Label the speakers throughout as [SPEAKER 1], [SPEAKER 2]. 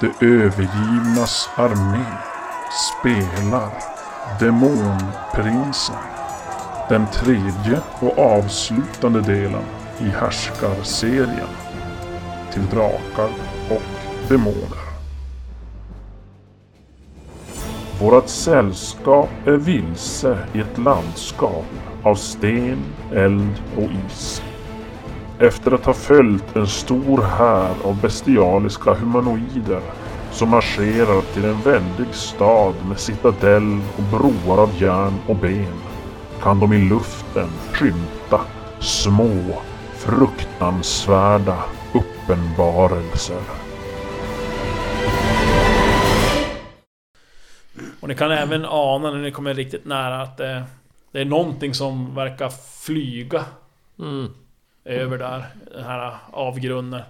[SPEAKER 1] De övergivnas armé spelar Demonprinsen. Den tredje och avslutande delen i Härskarserien. Till drakar och demoner. Vårat sällskap är vilse i ett landskap av sten, eld och is. Efter att ha följt en stor här av bestialiska humanoider som marscherar till en väldig stad med citadell och broar av järn och ben kan de i luften skymta små, fruktansvärda uppenbarelser.
[SPEAKER 2] Och ni kan även ana när ni kommer riktigt nära att det, det är någonting som verkar flyga
[SPEAKER 3] Mm.
[SPEAKER 2] över där, den här avgrunden.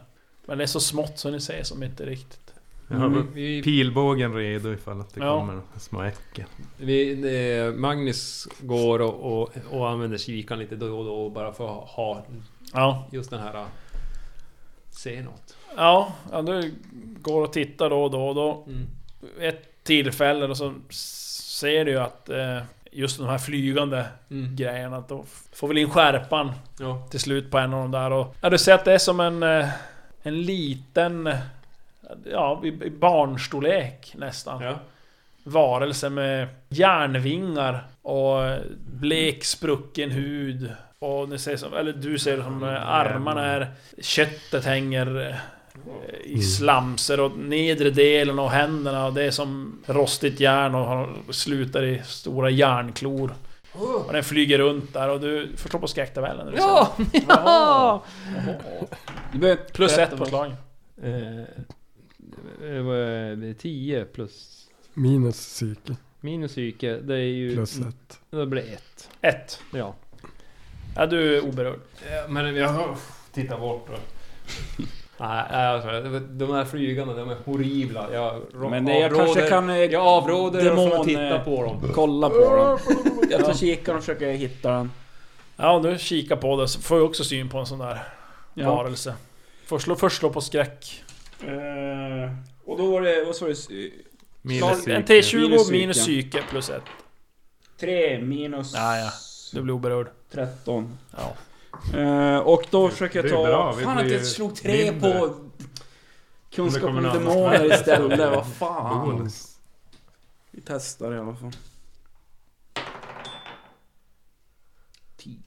[SPEAKER 2] Men det är så smått så ni ser som inte riktigt.
[SPEAKER 3] Jag har
[SPEAKER 4] Mm, vi-
[SPEAKER 3] pilbågen redo ifall att det
[SPEAKER 2] Ja.
[SPEAKER 3] kommer små äcken.
[SPEAKER 4] Vi, eh, Magnus går och, och, och använder kikaren lite då och då bara för att ha
[SPEAKER 2] Ja,
[SPEAKER 4] just den här... eh, Se något.
[SPEAKER 2] ja, ja du går och tittar då och då och då.
[SPEAKER 4] Mm.
[SPEAKER 2] Ett tillfälle och så ser du ju att eh, just de här flygande
[SPEAKER 4] Mm.
[SPEAKER 2] grejerna, att då får väl in skärpan
[SPEAKER 4] Ja.
[SPEAKER 2] till slut på en av dem där och... Ja, du ser att det är som en... eh, En liten... eh, Ja, i i barnstorlek nästan.
[SPEAKER 4] ja.
[SPEAKER 2] varelse med järnvingar och blek sprucken hud. Och ni ser som, eller du ser som
[SPEAKER 5] Mm,
[SPEAKER 2] eh, armarna är... Köttet hänger eh,
[SPEAKER 5] Mm.
[SPEAKER 2] i slamser och nedre delen och händerna och det är som rostigt järn och har- slutar i stora järnklor. Och den flyger runt där och du förstår på skräcktabellen. när du
[SPEAKER 3] Ja!
[SPEAKER 2] ser den. Ja! Plus ett på slagen.
[SPEAKER 4] Eh, 10 plus...
[SPEAKER 6] Minus psyke.
[SPEAKER 4] Minus psyke, det är ju...
[SPEAKER 6] Plus ett.
[SPEAKER 4] Det blir ett.
[SPEAKER 2] Ett.
[SPEAKER 4] Ja.
[SPEAKER 2] Ja, du är oberörd.
[SPEAKER 3] Eh,
[SPEAKER 4] Men jag... Titta bort då. Nej, alltså, de här flygarna, de är horribla. Jag rå-
[SPEAKER 5] Men det- jag
[SPEAKER 4] avråder-
[SPEAKER 5] kanske kan, eh,
[SPEAKER 4] Jag avråder er från
[SPEAKER 5] demon,
[SPEAKER 4] att titta
[SPEAKER 5] eh,
[SPEAKER 4] på dem.
[SPEAKER 5] Kolla på den. Jag tar kikaren och försöker hitta den.
[SPEAKER 2] Ja, du kikar på det så får du också syn på en sån där
[SPEAKER 5] Ja.
[SPEAKER 2] varelse. Först slå, först slå på skräck.
[SPEAKER 5] Eh, och då var det, vad sa du?
[SPEAKER 3] Minus
[SPEAKER 2] en
[SPEAKER 3] cirkel.
[SPEAKER 2] T20
[SPEAKER 5] Minus
[SPEAKER 2] minus,
[SPEAKER 5] psyke.
[SPEAKER 2] psyke plus ett.
[SPEAKER 5] 3 minus
[SPEAKER 2] Ja, ja. Du blir oberörd.
[SPEAKER 5] 13.
[SPEAKER 2] Ja.
[SPEAKER 5] Eh, och då försöker jag
[SPEAKER 3] det är
[SPEAKER 5] ta...
[SPEAKER 3] bra, vi
[SPEAKER 5] fan att
[SPEAKER 3] blir
[SPEAKER 5] jag slog 3
[SPEAKER 3] mindre.
[SPEAKER 5] på... Kunskap
[SPEAKER 3] Om
[SPEAKER 5] om
[SPEAKER 3] det kommer någon
[SPEAKER 5] demoner
[SPEAKER 3] annan.
[SPEAKER 5] istället, vad fan.
[SPEAKER 3] Bonus.
[SPEAKER 5] Vi testar i alla fall. 10.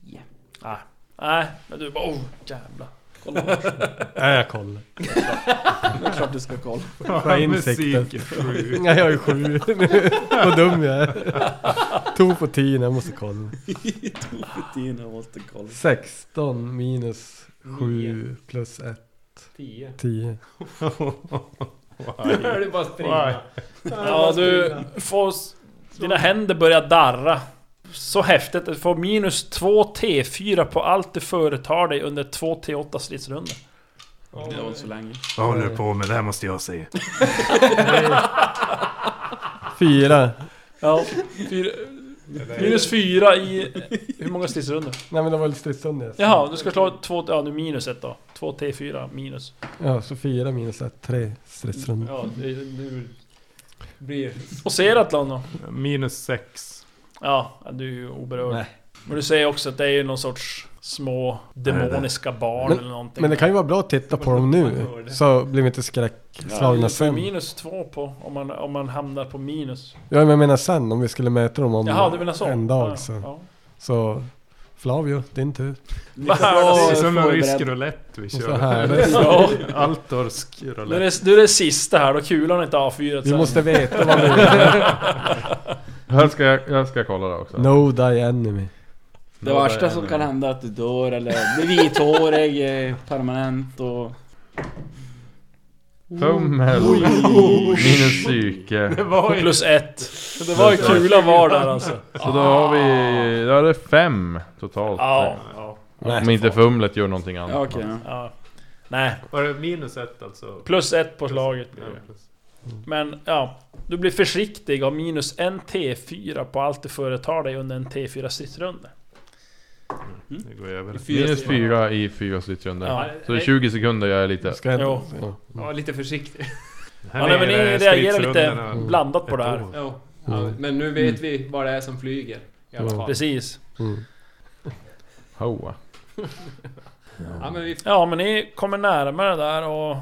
[SPEAKER 2] Nej. Nej, men du bara oh jävlar.
[SPEAKER 5] Kolla på den.
[SPEAKER 3] Ja, Äh, jag kollar.
[SPEAKER 5] Det är klart du ska kolla.
[SPEAKER 6] Vad är insekter?
[SPEAKER 3] Musik, sju.
[SPEAKER 6] Nej, jag är sju. Vad dum jag är. Tog på tio, jag måste kolla.
[SPEAKER 5] Rutin måste kolla.
[SPEAKER 6] 16 minus 7 plus 1,
[SPEAKER 4] 10.
[SPEAKER 6] 10.
[SPEAKER 4] Nu är det bara att springa.
[SPEAKER 2] Ja, du får... s- Dina händer börjar darra. Så häftigt. Du får minus 2 T4 på allt du företar dig under 2 T8 stridsrundor.
[SPEAKER 5] Det var inte så länge.
[SPEAKER 3] Vad håller du på med? Det här måste jag se.
[SPEAKER 6] 4.
[SPEAKER 2] Ja. Fyra, minus 4 i... Hur många stridsrundor?
[SPEAKER 6] Nej men det var lite stridsrundor.
[SPEAKER 2] Jaha, du ska slå 2... Ja, nu minus ett då. 2 T4 minus.
[SPEAKER 6] Ja, så 4 minus 1, 3 stridsrundor.
[SPEAKER 4] Ja, det, du blir...
[SPEAKER 2] Och Seratlan då?
[SPEAKER 3] Minus sex.
[SPEAKER 2] Ja, du är ju oberörd.
[SPEAKER 3] Nej.
[SPEAKER 2] Men du säger också att det är ju någon sorts små demoniska barn eller någonting.
[SPEAKER 6] Men det kan ju vara bra att titta på dem nu, så blir vi inte skräckslagna
[SPEAKER 2] Du får ju
[SPEAKER 6] sen.
[SPEAKER 2] minus två på om man, om man hamnar på minus.
[SPEAKER 6] Ja men jag menar sen, om vi skulle möta dem om
[SPEAKER 2] Jaha, du menar så?
[SPEAKER 6] en
[SPEAKER 2] Ja,
[SPEAKER 6] dag så.
[SPEAKER 2] ja.
[SPEAKER 6] Så Flavio, din tur.
[SPEAKER 3] Det är som en
[SPEAKER 5] förberedd.
[SPEAKER 3] rysk roulette vi
[SPEAKER 6] Och
[SPEAKER 3] kör.
[SPEAKER 6] så här.
[SPEAKER 2] Ja.
[SPEAKER 3] Altorsk
[SPEAKER 2] Nu är,
[SPEAKER 3] roulette.
[SPEAKER 2] det, nu är det sista här då, kulan är inte avfyrad
[SPEAKER 6] Vi
[SPEAKER 2] sen.
[SPEAKER 6] måste veta vad vi är.
[SPEAKER 7] Här ska jag, jag ska kolla det också.
[SPEAKER 6] No die enemy.
[SPEAKER 5] Det värsta som kan hända är att du dör eller blir vithårig eh, permanent och...
[SPEAKER 7] Fummel. Minus psyke.
[SPEAKER 2] Plus ett. Så det var ju kulan var där alltså.
[SPEAKER 7] Så då har vi... Då är det fem totalt.
[SPEAKER 2] Ja.
[SPEAKER 7] Om inte fumlet gör någonting annat.
[SPEAKER 5] Ja, okej. ja.
[SPEAKER 2] ja. Nej,
[SPEAKER 3] Var det minus ett alltså?
[SPEAKER 2] plus ett på slaget blir
[SPEAKER 3] Ja,
[SPEAKER 2] det.
[SPEAKER 3] plus.
[SPEAKER 2] Men ja, du blir försiktig av minus en T4 på allt du företar dig under en T4 stridsrunda.
[SPEAKER 3] Det går över.
[SPEAKER 7] Minus fyra i fyra stridsrundor.
[SPEAKER 2] Ja.
[SPEAKER 7] Så i 20 sekunder jag är lite...
[SPEAKER 6] Ska jag
[SPEAKER 2] Jo.
[SPEAKER 6] inte? Ja.
[SPEAKER 4] Ja, lite försiktig.
[SPEAKER 3] Här
[SPEAKER 2] Ja, nej, men
[SPEAKER 3] nere
[SPEAKER 2] ni
[SPEAKER 3] är
[SPEAKER 2] reagerar lite
[SPEAKER 3] stridsrunnorna.
[SPEAKER 2] blandat på
[SPEAKER 3] Ett
[SPEAKER 2] det här.
[SPEAKER 3] år.
[SPEAKER 4] Ja. Ja, men
[SPEAKER 5] Mm.
[SPEAKER 4] nu vet vi vad det är som flyger. I alla
[SPEAKER 6] Ja.
[SPEAKER 4] fall.
[SPEAKER 2] Precis.
[SPEAKER 6] Mm.
[SPEAKER 7] Hoa.
[SPEAKER 4] Ja, men vi...
[SPEAKER 2] Ja, men ni kommer närmare där och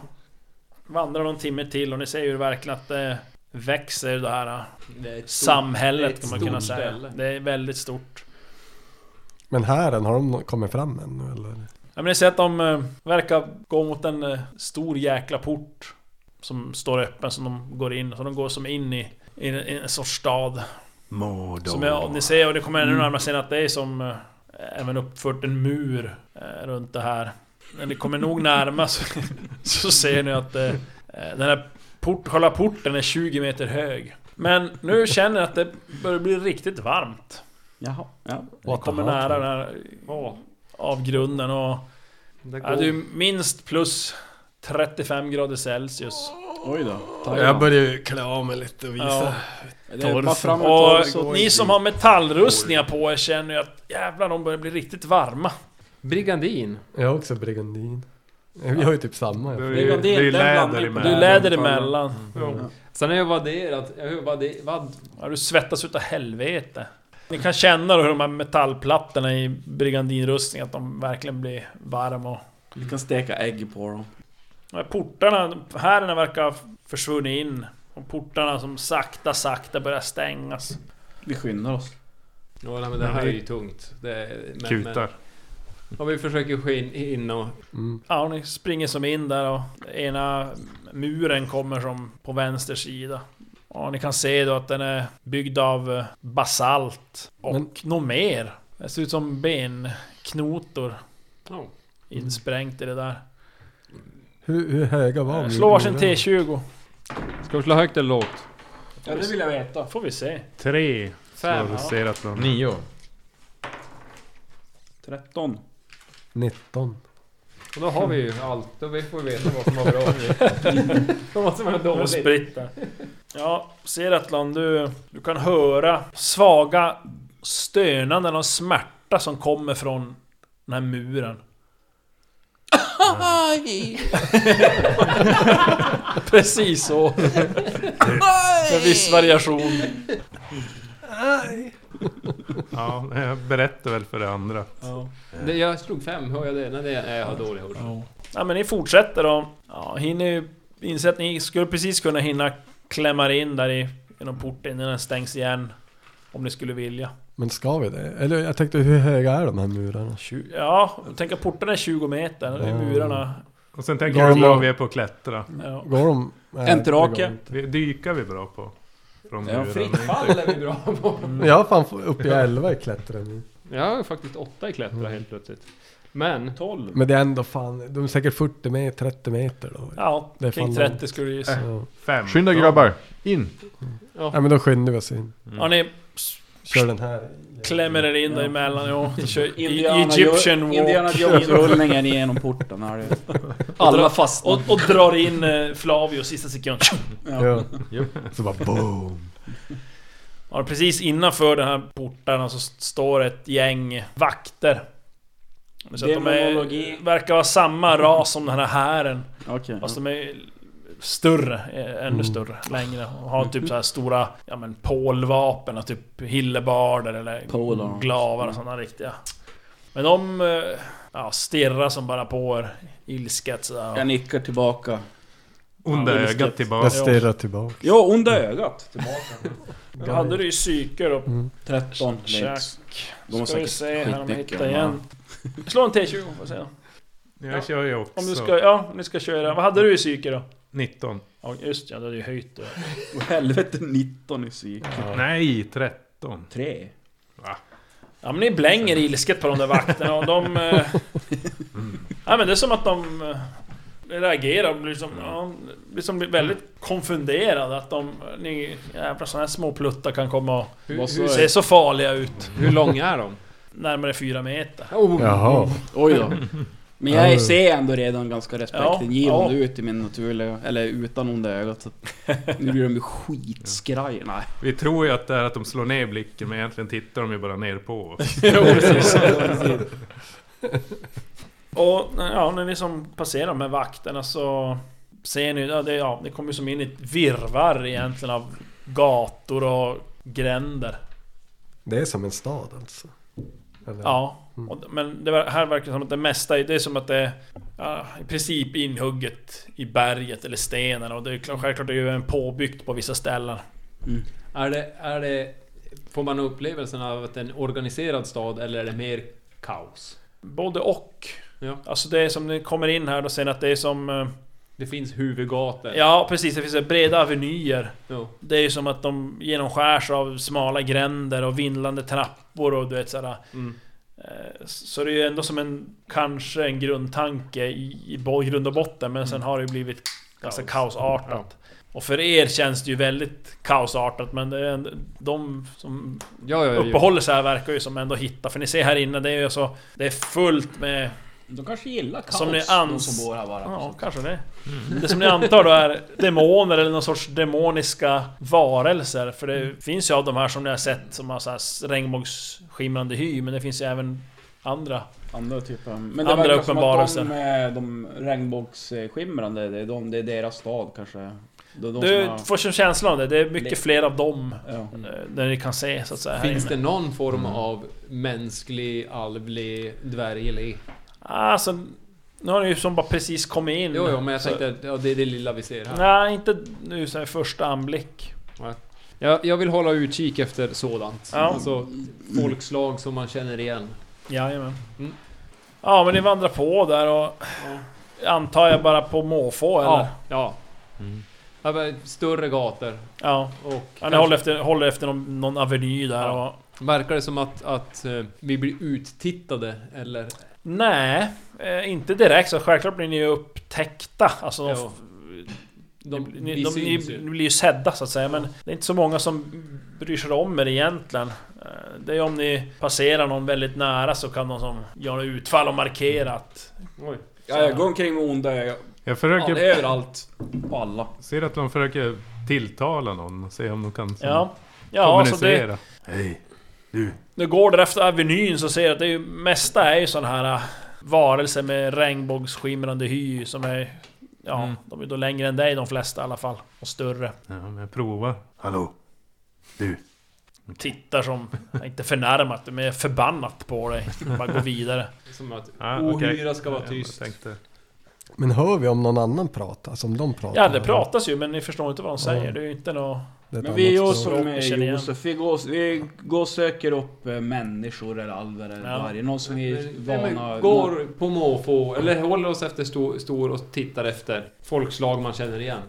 [SPEAKER 2] vandrar någon timme till och ni ser ju verkligen att det växer det här eh,
[SPEAKER 4] det är ett stort- det är
[SPEAKER 2] samhället
[SPEAKER 4] ett
[SPEAKER 2] kan man kunna
[SPEAKER 4] stort
[SPEAKER 2] säga.
[SPEAKER 4] ställe.
[SPEAKER 2] Det är väldigt stort.
[SPEAKER 6] Men hären, har de nå- kommit fram ännu eller?
[SPEAKER 2] Ja, men ni ser att de eh, verkar gå mot en eh, stor jäkla port Som står öppen som de går in, så de går som in i, i, en, i en sorts stad Som jag, ni ser, och det kommer ännu närmare sen att det är som eh, Även uppfört en mur eh, runt det här När ni kommer nog närmare så, så ser ni att eh, eh, Den här port, själva porten är 20 meter hög Men nu känner jag att det börjar bli riktigt varmt
[SPEAKER 5] Jaha, ja.
[SPEAKER 2] Ni kommer nära den här ja, avgrunden och
[SPEAKER 3] Det
[SPEAKER 2] Ja,
[SPEAKER 3] går.
[SPEAKER 2] du är minst plus 35 grader Celsius.
[SPEAKER 5] Oj då. Ta
[SPEAKER 6] Jag
[SPEAKER 5] jag
[SPEAKER 6] börjar ju klä av mig lite och visa.
[SPEAKER 2] Ja.
[SPEAKER 5] det är bara fram och ta
[SPEAKER 2] Och
[SPEAKER 5] så.
[SPEAKER 2] ni som har metallrustningar på er känner ju att jävlar de börjar bli riktigt varma.
[SPEAKER 4] Brigandin.
[SPEAKER 6] Jag har också brigandin. Vi har ju typ samma.
[SPEAKER 3] Det
[SPEAKER 6] Ja.
[SPEAKER 3] är
[SPEAKER 5] Det är
[SPEAKER 3] ju- det är ju
[SPEAKER 5] den
[SPEAKER 3] läder
[SPEAKER 5] blandningen på
[SPEAKER 2] Du
[SPEAKER 3] emellan.
[SPEAKER 2] är läder emellan.
[SPEAKER 4] Mm. Sen har jag vadderat. Jag har vadderat... Vad?
[SPEAKER 2] Ja, du svettas utav helvete. Ni kan känna hur de här metallplattorna i brigandinrustningen att de verkligen blir varma. och-
[SPEAKER 5] Du kan steka ägg på dem.
[SPEAKER 2] De här portarna, härerna verkar ha försvunnit in. Och portarna som sakta, sakta börjar stängas.
[SPEAKER 5] Vi skyndar oss.
[SPEAKER 4] Ja, nej, men det här är ju tungt. Det är, men,
[SPEAKER 3] Kutar.
[SPEAKER 4] Men, och vi försöker skina in och...
[SPEAKER 6] Mm.
[SPEAKER 2] Ja, ni springer som in där och ena muren kommer som på vänster sida. Ja, ni kan se då att den är byggd av eh, basalt och
[SPEAKER 6] Men-
[SPEAKER 2] något mer. Det ser ut som benknotor
[SPEAKER 4] Ja.
[SPEAKER 2] insprängt i det där.
[SPEAKER 6] Hur, hur höga var
[SPEAKER 2] Eh,
[SPEAKER 6] vi?
[SPEAKER 2] Slå varsin T20.
[SPEAKER 4] Ska vi slå högt eller lågt?
[SPEAKER 5] Ja, det vill jag veta.
[SPEAKER 2] Får vi se.
[SPEAKER 3] Tre.
[SPEAKER 2] Fem,
[SPEAKER 3] Fem. Ruserat bland.
[SPEAKER 7] Nio.
[SPEAKER 5] 13.
[SPEAKER 6] 19.
[SPEAKER 4] Och då har vi ju allt. Då får vi veta vad som var bra. vad som var
[SPEAKER 2] Och
[SPEAKER 4] dåligt.
[SPEAKER 2] spritt där. Ja, Seratlan, du, du kan höra svaga stönanden och smärta som kommer från den här muren. Precis så. Med viss variation.
[SPEAKER 3] Ja, jag berättar väl för det andra.
[SPEAKER 4] Det, jag slog fem, hör jag det? Nej, det är, jag har dålig hörsel.
[SPEAKER 2] Ja men ni fortsätter då. Ja, hinner ju inse att ni skulle precis kunna hinna klämma er in där i genom porten innan den stängs igen. Om ni skulle vilja.
[SPEAKER 6] Men ska vi det? Eller jag tänkte hur höga är de här murarna?
[SPEAKER 2] Tju- Ja, tänk att portarna är 20 meter, det är murarna.
[SPEAKER 3] Och sen tänker
[SPEAKER 6] Ja,
[SPEAKER 3] jag hur bra
[SPEAKER 6] men-
[SPEAKER 3] vi är på att klättra.
[SPEAKER 2] Ja.
[SPEAKER 6] Går de? Nej,
[SPEAKER 5] En drake.
[SPEAKER 6] det går inte.
[SPEAKER 3] Vi, dyka vi bra på. Från
[SPEAKER 5] Ja,
[SPEAKER 3] muren.
[SPEAKER 4] Fritt fall är vi bra på.
[SPEAKER 6] Men Jag har Mm. fan få- upp i 11 i klättring.
[SPEAKER 4] Jag har faktiskt åtta i klättra helt plötsligt. Men...
[SPEAKER 5] 12.
[SPEAKER 6] Men det är ändå fan, de är säkert 40 meter, 30 meter då.
[SPEAKER 2] Ja,
[SPEAKER 6] Det är
[SPEAKER 2] kring
[SPEAKER 6] fan
[SPEAKER 2] 30 skulle du gissa.
[SPEAKER 6] Ja.
[SPEAKER 3] Fem.
[SPEAKER 7] Skynda grabbar! In!
[SPEAKER 6] Nej men då skyndar vi oss in.
[SPEAKER 5] Mm.
[SPEAKER 2] Ja, ni
[SPEAKER 6] Kör den här.
[SPEAKER 2] klämmer er in där emellan. Ja, ni kör i-
[SPEAKER 5] Indiana,
[SPEAKER 2] Egyptian walk.
[SPEAKER 5] Indiana Jones-rullningen genom porten. Här. är det. Alla fastnar.
[SPEAKER 2] Och, och drar in eh, Flavio sista sekund.
[SPEAKER 6] Ja. Så bara boom.
[SPEAKER 2] Ja, precis innanför den här portarna så st- står ett gäng vakter. Så att de
[SPEAKER 5] Demonologi.
[SPEAKER 2] är, verkar vara samma ras som den här hären.
[SPEAKER 5] Okej.
[SPEAKER 2] Fast de är större, eh, ännu
[SPEAKER 5] Mm.
[SPEAKER 2] större, längre. Och har typ så här stora, ja men pålvapen, och typ hillebarder eller
[SPEAKER 5] Polar. Mm.
[SPEAKER 2] glavar och sådana riktiga. Men de eh, ja, stirrar som bara på er, ilsket sådär.
[SPEAKER 5] Jag nickar tillbaka.
[SPEAKER 3] Onda
[SPEAKER 2] Ja,
[SPEAKER 3] ögat tillbaka.
[SPEAKER 6] Jag stirrar tillbaka.
[SPEAKER 5] Ja, onda ögat. Tillbaka.
[SPEAKER 2] Då hade du ju psyke då.
[SPEAKER 5] 13.
[SPEAKER 2] Käk.
[SPEAKER 5] De har
[SPEAKER 2] Ska vi
[SPEAKER 5] säkert
[SPEAKER 2] se här om jag
[SPEAKER 5] skitnyckeln,
[SPEAKER 2] hittar igen. Slå en T20 får jag säga.
[SPEAKER 3] Jag kör ju också.
[SPEAKER 2] Om du ska, ja, om du ska köra. Vad hade du i psyke då?
[SPEAKER 3] 19.
[SPEAKER 2] Ja just ja, du hade ju höjt det.
[SPEAKER 5] Åh, helvete 19 i psyk.
[SPEAKER 3] Nej, 13.
[SPEAKER 5] 3.
[SPEAKER 2] Ja men ni blänger ilsket på de där vakterna och de... Eh, ja men det är som att de... Eh, reagerar och blir som... Ja, blir som blir väldigt konfunderade att de... Ni, jävlar såna här små pluttar kan komma och
[SPEAKER 4] Hur,
[SPEAKER 5] Vad
[SPEAKER 4] hur,
[SPEAKER 5] sa
[SPEAKER 2] se så farliga ut.
[SPEAKER 4] hur långa är de?
[SPEAKER 2] Närmare fyra meter.
[SPEAKER 4] Oh,
[SPEAKER 6] Jaha.
[SPEAKER 5] Oj då. Men jag ser ändå redan ganska respektingivande
[SPEAKER 2] Ja, ja.
[SPEAKER 5] ut i min naturliga... Eller utan onda ögat. Så. Nu blir de ju skitskraj. Nej.
[SPEAKER 3] Vi tror ju att det är att de slår ner blicken, men egentligen tittar de ju bara ner på oss.
[SPEAKER 2] Och ja, när ni som passerar de här vakterna så... ser ni, ja, det, ja, ni kommer ju som in i ett virrvarr egentligen av gator och gränder.
[SPEAKER 6] Det är som en stad alltså. Eller?
[SPEAKER 2] Ja,
[SPEAKER 6] Mm.
[SPEAKER 2] och, men det ver- här verkar det som att det mesta, är- det är som att det är ja, i princip inhugget i berget eller stenen och det är klart- självklart det är ju en påbyggt på vissa ställen.
[SPEAKER 4] Är det, är det... Får man upplevelsen av att det är en organiserad stad eller är det mer kaos?
[SPEAKER 2] Både och.
[SPEAKER 4] Ja.
[SPEAKER 2] Alltså det är som ni kommer in här då ser ni att det är som... eh,
[SPEAKER 4] Det finns huvudgator.
[SPEAKER 2] Ja precis, det finns så här breda avenyer.
[SPEAKER 4] Jo.
[SPEAKER 2] Det är ju som att de genomskärs av smala gränder och vindlande trappor och du vet sådär.
[SPEAKER 4] Mm.
[SPEAKER 2] Eh, Så det är ju ändå som en, kanske en grundtanke i, i bo- grund och botten men sen har det ju blivit ganska kaosartat. Och för er känns det ju väldigt kaosartat men det är ändå, de som
[SPEAKER 4] Ja, ja, ja.
[SPEAKER 2] uppehåller sig här verkar ju som ändå hitta. För ni ser här inne, det är ju så... Det är fullt med...
[SPEAKER 5] De kanske gillar kaos,
[SPEAKER 2] Som ni
[SPEAKER 5] de
[SPEAKER 2] ans-
[SPEAKER 5] som bor här bara.
[SPEAKER 2] Ja, kanske det. Det som ni antar då är demoner eller någon sorts demoniska varelser. För det finns ju av de här som ni har sett som har så här regnbågsskimrande hy, men det finns ju även andra.
[SPEAKER 5] Andra typer av... Men det
[SPEAKER 2] Andra
[SPEAKER 5] verkar som att
[SPEAKER 2] uppenbarelser.
[SPEAKER 5] De, eh, de regnbågsskimrande, det är, de, det är deras stad kanske. Det är de
[SPEAKER 2] Du
[SPEAKER 5] som har,
[SPEAKER 2] får en känsla av det, det är mycket fler av dem.
[SPEAKER 5] ja.
[SPEAKER 2] eh, Där ni kan se så att säga. här
[SPEAKER 4] Mm. Finns
[SPEAKER 2] inne.
[SPEAKER 4] det någon form av mänsklig, alvlig, dvärglig?
[SPEAKER 2] Alltså, nu har ni ju som bara precis kommit in.
[SPEAKER 4] Jo, jo,
[SPEAKER 3] Mm.
[SPEAKER 4] men jag
[SPEAKER 2] Så-
[SPEAKER 4] tänkte att ja, det är det lilla vi ser här.
[SPEAKER 2] Nej, inte nu så här i första anblick.
[SPEAKER 4] Jag, jag vill hålla utkik efter sådant.
[SPEAKER 2] Ja.
[SPEAKER 4] Alltså folkslag som man känner igen.
[SPEAKER 2] Jajamän.
[SPEAKER 4] Mm.
[SPEAKER 2] Ja, men ni vandrar på där och... Antar jag bara på måfå eller?
[SPEAKER 4] Ja, ja.
[SPEAKER 3] Mm.
[SPEAKER 4] Ja, men Större gator
[SPEAKER 2] Ja,
[SPEAKER 4] och...
[SPEAKER 2] ja ni
[SPEAKER 4] kanske-
[SPEAKER 2] håller efter, håller efter någon, någon aveny där
[SPEAKER 4] Ja.
[SPEAKER 2] och...
[SPEAKER 4] Verkar det som att, att eh, vi blir uttittade eller?
[SPEAKER 2] Nej, eh, inte direkt. Så självklart blir ni ju upptäckta. Alltså, de,
[SPEAKER 4] Ja. De,
[SPEAKER 2] ni,
[SPEAKER 4] vi
[SPEAKER 2] ni, de, ni,
[SPEAKER 4] syns ju.
[SPEAKER 2] ni blir ju sedda så att säga. Men det är inte så många som bryr sig om er egentligen. Eh, Det är om ni passerar någon väldigt nära så kan de som göra utfall och markera att...
[SPEAKER 4] Oj.
[SPEAKER 5] ja, jag går omkring med onda ögon.
[SPEAKER 3] Jag
[SPEAKER 5] Ja,
[SPEAKER 3] försöker...
[SPEAKER 5] det är överallt. På alla.
[SPEAKER 3] Ser att de försöker tilltala någon och se om de kan så,
[SPEAKER 2] Ja. Ja, så det,
[SPEAKER 3] Mm. kommunicera.
[SPEAKER 2] Nu går där efter Avenyn så ser jag att det är ju, mesta är ju sådana här äh, varelser med regnbågsskimrande hy som är... Ja,
[SPEAKER 3] Mm.
[SPEAKER 2] de är då längre än dig de flesta i alla fall. Och större.
[SPEAKER 3] Ja, men jag provar.
[SPEAKER 2] Tittar som, inte förnärmat, men förbannat på dig. Bara går vidare.
[SPEAKER 4] Som att
[SPEAKER 3] Ah,
[SPEAKER 4] ohyra
[SPEAKER 3] okej.
[SPEAKER 4] ska vara tyst.
[SPEAKER 3] Jag tänkte,
[SPEAKER 6] Men hör vi om någon annan pratar? Alltså om de pratar?
[SPEAKER 2] Ja, det pratas ju men ni förstår inte vad de säger.
[SPEAKER 6] Ja.
[SPEAKER 2] Det är ju inte något...
[SPEAKER 6] Det är ett
[SPEAKER 5] Men vi
[SPEAKER 6] annat
[SPEAKER 5] gör
[SPEAKER 6] språk.
[SPEAKER 5] som med
[SPEAKER 2] Känner igen.
[SPEAKER 5] Josef. Vi går, vi går och söker upp eh, människor eller alver eller
[SPEAKER 2] Ja.
[SPEAKER 5] varje. Någon som vi är
[SPEAKER 4] Nej, men
[SPEAKER 5] vana...
[SPEAKER 4] går på måfå, eller håller oss efter stor, stor och tittar efter folkslag man känner igen.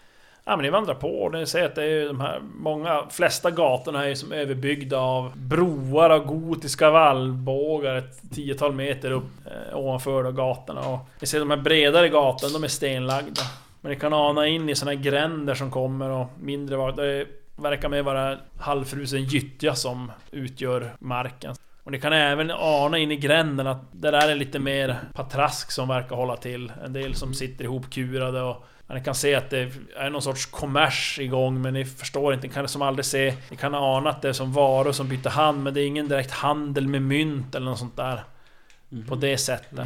[SPEAKER 2] Ja men ni vandrar på och ni ser att det är ju de här många, flesta gatorna är ju som överbyggda av broar av gotiska vallbågar ett tiotal meter upp eh, ovanför då gatorna och ni ser de här bredare gatorna, de är stenlagda. Men ni kan ana in i såna här gränder som kommer och mindre var det verkar mer vara halvfrusen gyttja som utgör marken. Och ni kan även ana in i gränden att det där är lite mer patrask som verkar hålla till. En del som sitter ihopkurade och Ja, ni kan se att det är någon sorts kommers igång men ni förstår inte, ni kan som aldrig se... Ni kan ana att det är som varor som byter hand men det är ingen direkt handel med mynt eller något sånt där. På det sättet.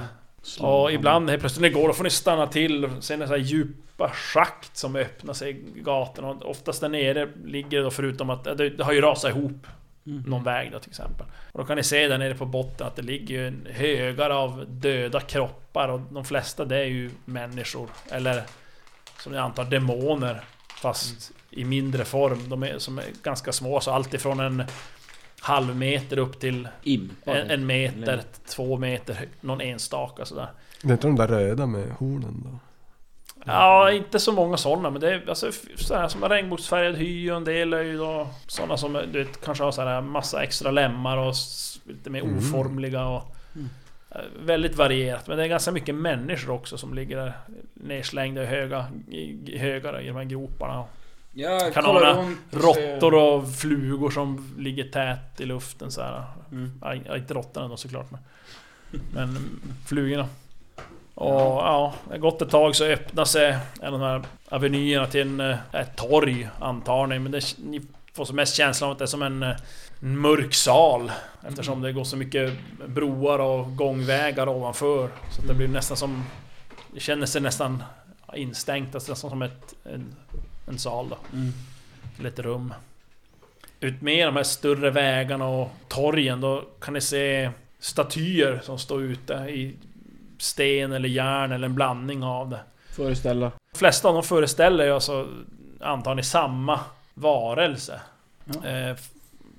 [SPEAKER 2] Och ibland helt plötsligt när ni går då får ni stanna till och ser ni så här djupa schakt som öppnar sig i gatorna. Och Oftast där nere ligger det då förutom att det, det har ju rasat ihop någon väg då till exempel. Och då kan ni se där nere på botten att det ligger ju en högar av döda kroppar och de flesta det är ju människor. Eller som jag antar demoner fast i mindre form. De är, som är ganska små, så allt ifrån en halv meter upp till
[SPEAKER 5] Impa.
[SPEAKER 2] en, en meter,
[SPEAKER 5] Eller-
[SPEAKER 2] två meter, hö- någon enstaka sådär.
[SPEAKER 6] Det är inte de där röda med hornen då?
[SPEAKER 2] Ja, inte så många sådana, men det är alltså, f- så här som har regnbågsfärgad hy och en del är ju då sådana som du vet, kanske har så här massa extra lemmar och s- lite mer
[SPEAKER 6] Mm.
[SPEAKER 2] oformliga och eh, Väldigt varierat, men det är ganska mycket människor också som ligger där nedslängda i höga, i, i högar i de här groparna.
[SPEAKER 5] Ja,
[SPEAKER 2] Kan
[SPEAKER 5] kollar
[SPEAKER 2] ana
[SPEAKER 5] runt, eh,
[SPEAKER 2] Råttor och flugor som ligger tät i luften så här.
[SPEAKER 5] Mm.
[SPEAKER 2] Nej, ja, inte råttorna då såklart men... Men flugorna. Och ja, det har gått ett tag så öppnar sig en av de här avenyerna till en, eh, ett torg antar ni. Men det, ni får som mest känslan av att det är som en, eh, en mörk sal. Eftersom det går så mycket broar och gångvägar ovanför. Så att det blir nästan som... Det känner sig nästan instängt, alltså nästan som ett, en, en sal då.
[SPEAKER 5] Mm.
[SPEAKER 2] Eller ett rum. Utmed de här större vägarna och torgen då kan ni se statyer som står ute i sten eller järn eller en blandning av det.
[SPEAKER 5] Föreställa.
[SPEAKER 2] De flesta av dem föreställer ju alltså antagligen samma varelse.
[SPEAKER 5] Ja.
[SPEAKER 2] Eh, f-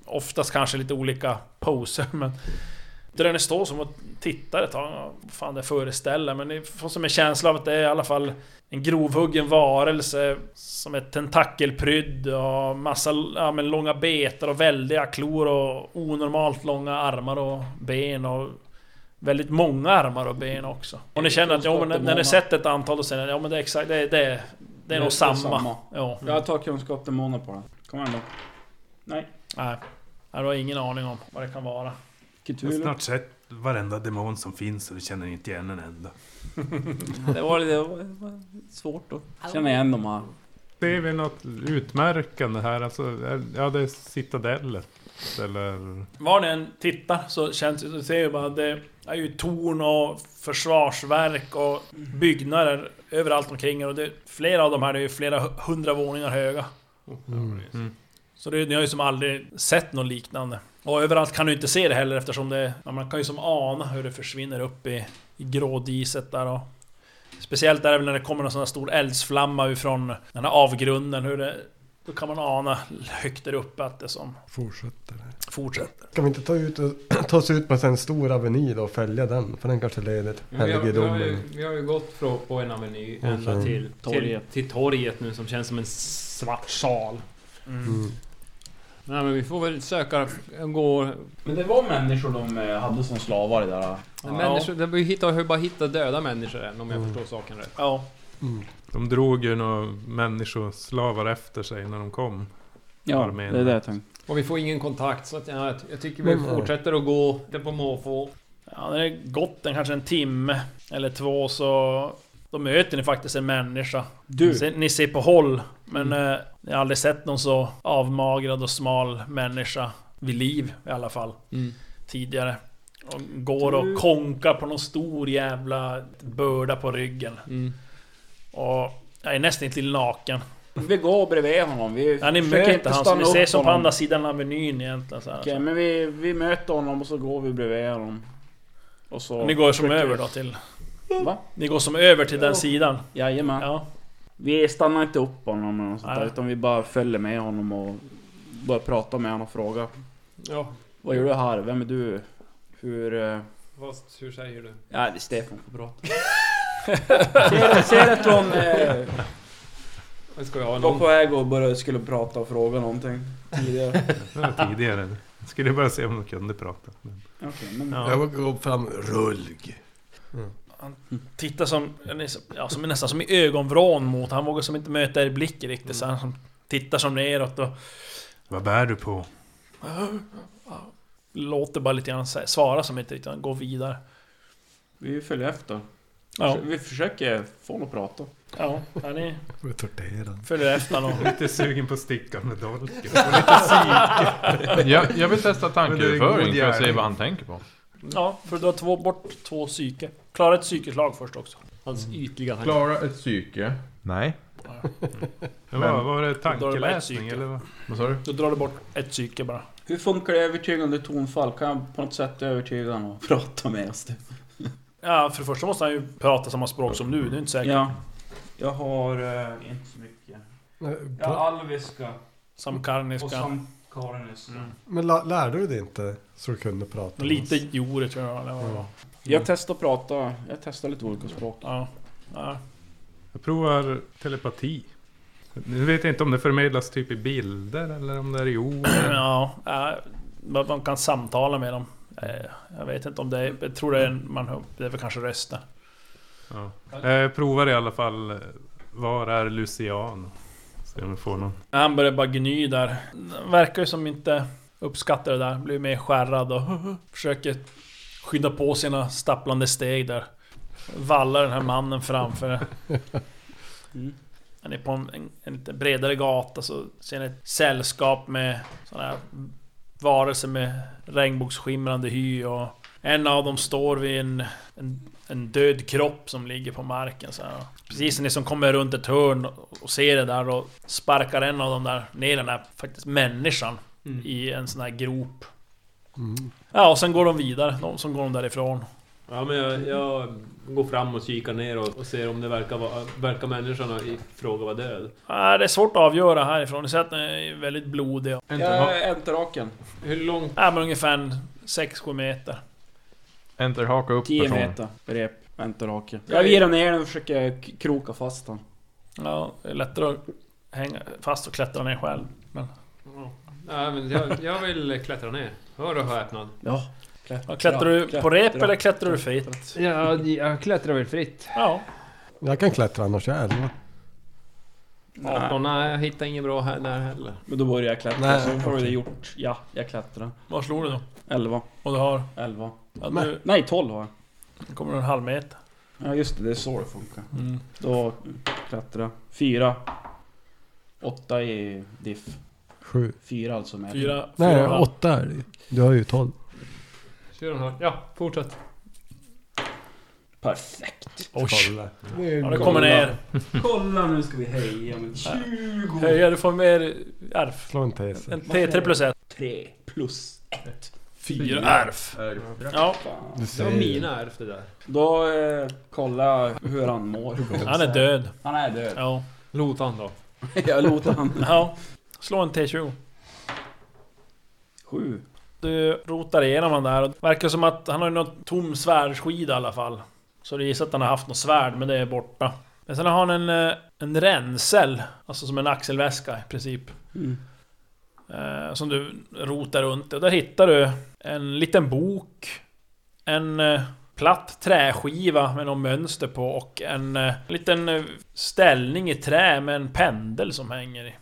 [SPEAKER 2] oftast kanske lite olika poser men... Det där ni står som och tittar ett tag, ja, vad fan det föreställer men ni får som en känsla av att det är i alla fall en grovhuggen varelse som är tentakelprydd och massa ja, men långa betar och väldiga klor och onormalt långa armar och ben och väldigt många armar och ben också. Och ni känner att ja, men när, när ni sett ett antal och sen ja men det är exakt, det, är- det, är- det är nog samma. Ja.
[SPEAKER 5] Jag tar kunskap till månad på den. Kom igen då. Nej.
[SPEAKER 2] Nej. Jag har ingen aning om vad det kan vara.
[SPEAKER 3] Jag har
[SPEAKER 5] Cthulhu.
[SPEAKER 3] snart sett varenda demon som finns och det känner inte igen en enda.
[SPEAKER 5] Det var, det var- det var svårt då. Känner igen de här.
[SPEAKER 3] Ser vi något utmärkande här? Alltså, är- ja, det är citadellet. Eller...
[SPEAKER 2] Var ni än tittar så känns det, så ser jag bara att det är ju torn och försvarsverk och byggnader överallt omkring er. Och det, flera av de här det är ju flera hu- hundra våningar höga.
[SPEAKER 6] Mm.
[SPEAKER 2] Så det, ni har ju som aldrig sett något liknande. Och överallt kan du inte se det heller eftersom det... ja, Man kan ju som ana hur det försvinner upp i, i grådiset där och... Speciellt där även när det kommer någon sån här stor eldsflamma ifrån den här avgrunden, hur det... Då kan man ana högt där uppe att det som
[SPEAKER 6] Fortsätter.
[SPEAKER 2] fortsätter.
[SPEAKER 6] Kan vi inte ta, ut och, ta oss ut på en stor aveny då och följa den? För den kanske leder till
[SPEAKER 4] Men Mm. Vi har, vi, har ju,
[SPEAKER 2] Mm.
[SPEAKER 6] helgedomen.
[SPEAKER 4] vi har ju gått från på en aveny ända
[SPEAKER 6] Okej.
[SPEAKER 4] till
[SPEAKER 5] Torget.
[SPEAKER 4] Till, till torget nu som känns som en svart sal.
[SPEAKER 6] Mm.
[SPEAKER 4] Nej men vi får väl söka, gå...
[SPEAKER 5] Men det var människor de eh, hade som slavar i det där.
[SPEAKER 4] Ja. Människor, det- vi hittar, har bara hittat döda människor än om jag förstår saken rätt.
[SPEAKER 2] Ja.
[SPEAKER 6] Mm.
[SPEAKER 3] De drog ju några människoslavar efter sig när de kom.
[SPEAKER 5] Ja, det
[SPEAKER 3] Armén.
[SPEAKER 5] är det jag tänkte.
[SPEAKER 4] Och vi får ingen kontakt så att, ja, jag, jag tycker vi
[SPEAKER 6] Men-
[SPEAKER 4] fortsätter att gå där på måfå.
[SPEAKER 2] Ja, när det är gått en kanske en timme eller två så... Då möter ni faktiskt en människa.
[SPEAKER 5] Du. Mm.
[SPEAKER 2] Se- Ni ser på håll, men eh, ni har aldrig sett någon så avmagrad och smal människa vid liv i alla fall.
[SPEAKER 5] Mm.
[SPEAKER 2] Tidigare. Och går och konkar på någon stor jävla börda på ryggen.
[SPEAKER 5] Mm.
[SPEAKER 2] Och jag är nästan till naken.
[SPEAKER 5] Vi går bredvid honom. Vi
[SPEAKER 2] Ja, ni
[SPEAKER 5] försöker
[SPEAKER 2] möter
[SPEAKER 5] inte
[SPEAKER 2] han, så
[SPEAKER 5] stanna
[SPEAKER 2] ni
[SPEAKER 5] upp
[SPEAKER 2] ser som på
[SPEAKER 5] honom.
[SPEAKER 2] andra sidan avenyn egentligen. Så här.
[SPEAKER 5] Okej, men vi, vi möter honom och så går vi bredvid honom. Och så...
[SPEAKER 2] Ni går som över då till...
[SPEAKER 5] Va?
[SPEAKER 2] Ni går som över till den sidan.
[SPEAKER 5] Jajamän.
[SPEAKER 2] Ja.
[SPEAKER 5] Vi stannar inte upp honom eller något sånt där,
[SPEAKER 2] Nej.
[SPEAKER 5] utan vi bara följer med honom och börjar prata med honom och fråga.
[SPEAKER 4] Ja,
[SPEAKER 5] Vad gör du här? Vem är du? Hur... eh,
[SPEAKER 4] vad, hur säger du?
[SPEAKER 5] Ja, det är Stefan får prata. ser, ser att hon eh,
[SPEAKER 4] Nu ska vi ha
[SPEAKER 5] var
[SPEAKER 4] någon...
[SPEAKER 5] på väg och började, skulle prata och fråga någonting tidigare.
[SPEAKER 3] Det var tidigare. Jag skulle bara se om de kunde prata.
[SPEAKER 5] Okej, men...
[SPEAKER 2] Ja.
[SPEAKER 6] Jag går fram, rulg.
[SPEAKER 2] Tittar som, ja, som är nästan som i ögonvrån mot, han vågar som inte möta er blick riktigt så han som tittar som neråt och
[SPEAKER 3] Vad bär du på?
[SPEAKER 2] låter bara lite grann sä- svara som inte riktigt, han går vidare.
[SPEAKER 5] Vi följer efter.
[SPEAKER 2] Ja,
[SPEAKER 5] Vi försöker få honom att prata.
[SPEAKER 2] ja, ja ni
[SPEAKER 6] Får jag tortera
[SPEAKER 2] följer efter honom.
[SPEAKER 3] Lite sugen på stickan med dolken.
[SPEAKER 7] Jag, jag vill testa
[SPEAKER 3] Men det är
[SPEAKER 7] tankeöverföring
[SPEAKER 3] god
[SPEAKER 7] för att se
[SPEAKER 3] gärning.
[SPEAKER 7] vad han tänker på.
[SPEAKER 2] Ja, för du har två, bort två psyke. Klara ett psykeslag först också.
[SPEAKER 4] Hans ytliga tankar.
[SPEAKER 7] Klara ett psyke. Nej.
[SPEAKER 3] Det
[SPEAKER 2] Då
[SPEAKER 3] var, var det
[SPEAKER 2] var det ett
[SPEAKER 3] tankeläsning
[SPEAKER 2] psyke.
[SPEAKER 3] eller? vad?
[SPEAKER 7] Vad sa du?
[SPEAKER 2] Då drar du bort ett psyke bara.
[SPEAKER 5] Hur funkar det övertygande tonfall? Kan jag på något sätt övertyga honom att prata med oss? Typ?
[SPEAKER 2] Ja, för det första måste han ju prata samma språk som du, det är inte säkert.
[SPEAKER 5] Ja. Jag har eh, inte så mycket. Jag
[SPEAKER 6] den.
[SPEAKER 5] har alviska och
[SPEAKER 2] Samkarniska.
[SPEAKER 5] samkarniska.
[SPEAKER 6] Men la- lärde du dig inte så du kunde prata?
[SPEAKER 2] Lite jore tror jag eller vad det var.
[SPEAKER 6] Ja.
[SPEAKER 5] Jag testar att prata. Jag testar lite olika språk.
[SPEAKER 2] Ja. ja.
[SPEAKER 3] Jag provar telepati. Nu vet jag inte om det förmedlas typ i bilder eller om det är i ord.
[SPEAKER 2] Ja, eh, man man kan samtala med dem. Eh, Jag vet inte om det är, jag tror det är, en- man, hör- det är väl kanske rösten.
[SPEAKER 3] Ja. Jag provar i alla fall. eh, Var är Lucian? Se om jag får någon.
[SPEAKER 2] Han börjar bara gny där. Han Verkar ju som inte uppskattar det där. Blir mer skärrad och försöker skynda på sina stapplande steg där. Vallar den här mannen framför er.
[SPEAKER 5] Mm.
[SPEAKER 2] Han är på en, en, en lite bredare gata så ser ni ett sällskap med sådana här varelser med regnbågsskimrande hy och En av dem står vid en, en, en död kropp som ligger på marken så här. Precis när ni som kommer runt ett hörn och ser det där och sparkar en av dem där ner den här faktiskt människan i en sån här grop. Ja, och sen går de vidare, de som går de därifrån.
[SPEAKER 4] Ja, men jag, jag går fram och kikar ner och, och ser om det verkar vara... Verkar människan i fråga vara död?
[SPEAKER 2] Ja, det är svårt att avgöra härifrån, ni ser att den är väldigt blodig.
[SPEAKER 5] Jag är enterhaken.
[SPEAKER 4] Hur långt...
[SPEAKER 2] Ja, men ungefär 6-7 meter.
[SPEAKER 7] Enter haka upp
[SPEAKER 5] 10
[SPEAKER 7] personen.
[SPEAKER 5] meter rep. Enterhake. Jag virar ner den och försöker k- kroka fast den.
[SPEAKER 2] Ja, det är lättare att hänga fast och klättra ner själv. Men
[SPEAKER 4] Ja, men jag, jag vill klättra ner. Hör och häpnad.
[SPEAKER 5] Ja.
[SPEAKER 2] Ja, klättrar du på rep eller klättrar du fritt?
[SPEAKER 4] Ja, jag klättrar väl fritt.
[SPEAKER 2] Ja.
[SPEAKER 6] Jag kan klättra annars, jag är elva.
[SPEAKER 4] 18, nej jag hittar inget bra här där heller.
[SPEAKER 5] Men då börjar jag klättra
[SPEAKER 6] Nej,
[SPEAKER 5] så får vi det
[SPEAKER 6] okej.
[SPEAKER 5] gjort. Ja, jag klättrar.
[SPEAKER 2] Vad slår du då?
[SPEAKER 5] 11.
[SPEAKER 2] Och du har...
[SPEAKER 5] 11.
[SPEAKER 2] Ja,
[SPEAKER 6] Men-
[SPEAKER 2] nu
[SPEAKER 5] Nej, 12 har jag.
[SPEAKER 2] kommer du en halv meter. Mm.
[SPEAKER 5] Ja just det, det är så det funkar. Då klättra. 4. 8 i diff.
[SPEAKER 6] Sju.
[SPEAKER 5] 4 alltså med.
[SPEAKER 2] Fyra...
[SPEAKER 6] Nej,
[SPEAKER 2] fyra och en halv.
[SPEAKER 6] åtta är det ju. Du har ju tolv.
[SPEAKER 4] Kör den här. Ja, fortsätt.
[SPEAKER 5] Perfekt.
[SPEAKER 2] Oj! Ja, du kommer ner.
[SPEAKER 5] Kolla nu ska vi heja med 20.
[SPEAKER 2] Höja, Eh, du får mer ärf.
[SPEAKER 6] Slå en tes.
[SPEAKER 2] En T3 plus 1.
[SPEAKER 5] 3 plus 1.
[SPEAKER 2] Fyra ärf. Ja,
[SPEAKER 6] Du
[SPEAKER 4] Det var
[SPEAKER 6] ser ju.
[SPEAKER 4] mina ärv det där.
[SPEAKER 5] Då eh, kolla hur han mår.
[SPEAKER 2] han är död.
[SPEAKER 5] Han är död.
[SPEAKER 2] Ja.
[SPEAKER 4] Lotan då.
[SPEAKER 5] Jag låter han.
[SPEAKER 2] ja. Slå en T20.
[SPEAKER 5] 7.
[SPEAKER 2] Du rotar igenom han där och det verkar som att han har ju någon tom svärdskida i alla fall. Så du gissar att han har haft något svärd, men det är borta. Men sen har han en, eh, en ränsel, alltså som en axelväska i princip.
[SPEAKER 5] Mm.
[SPEAKER 2] Eh, som du rotar runt. Och där hittar du en liten bok. En eh, platt träskiva med något mönster på och en eh, liten eh, ställning i trä med en pendel som hänger i.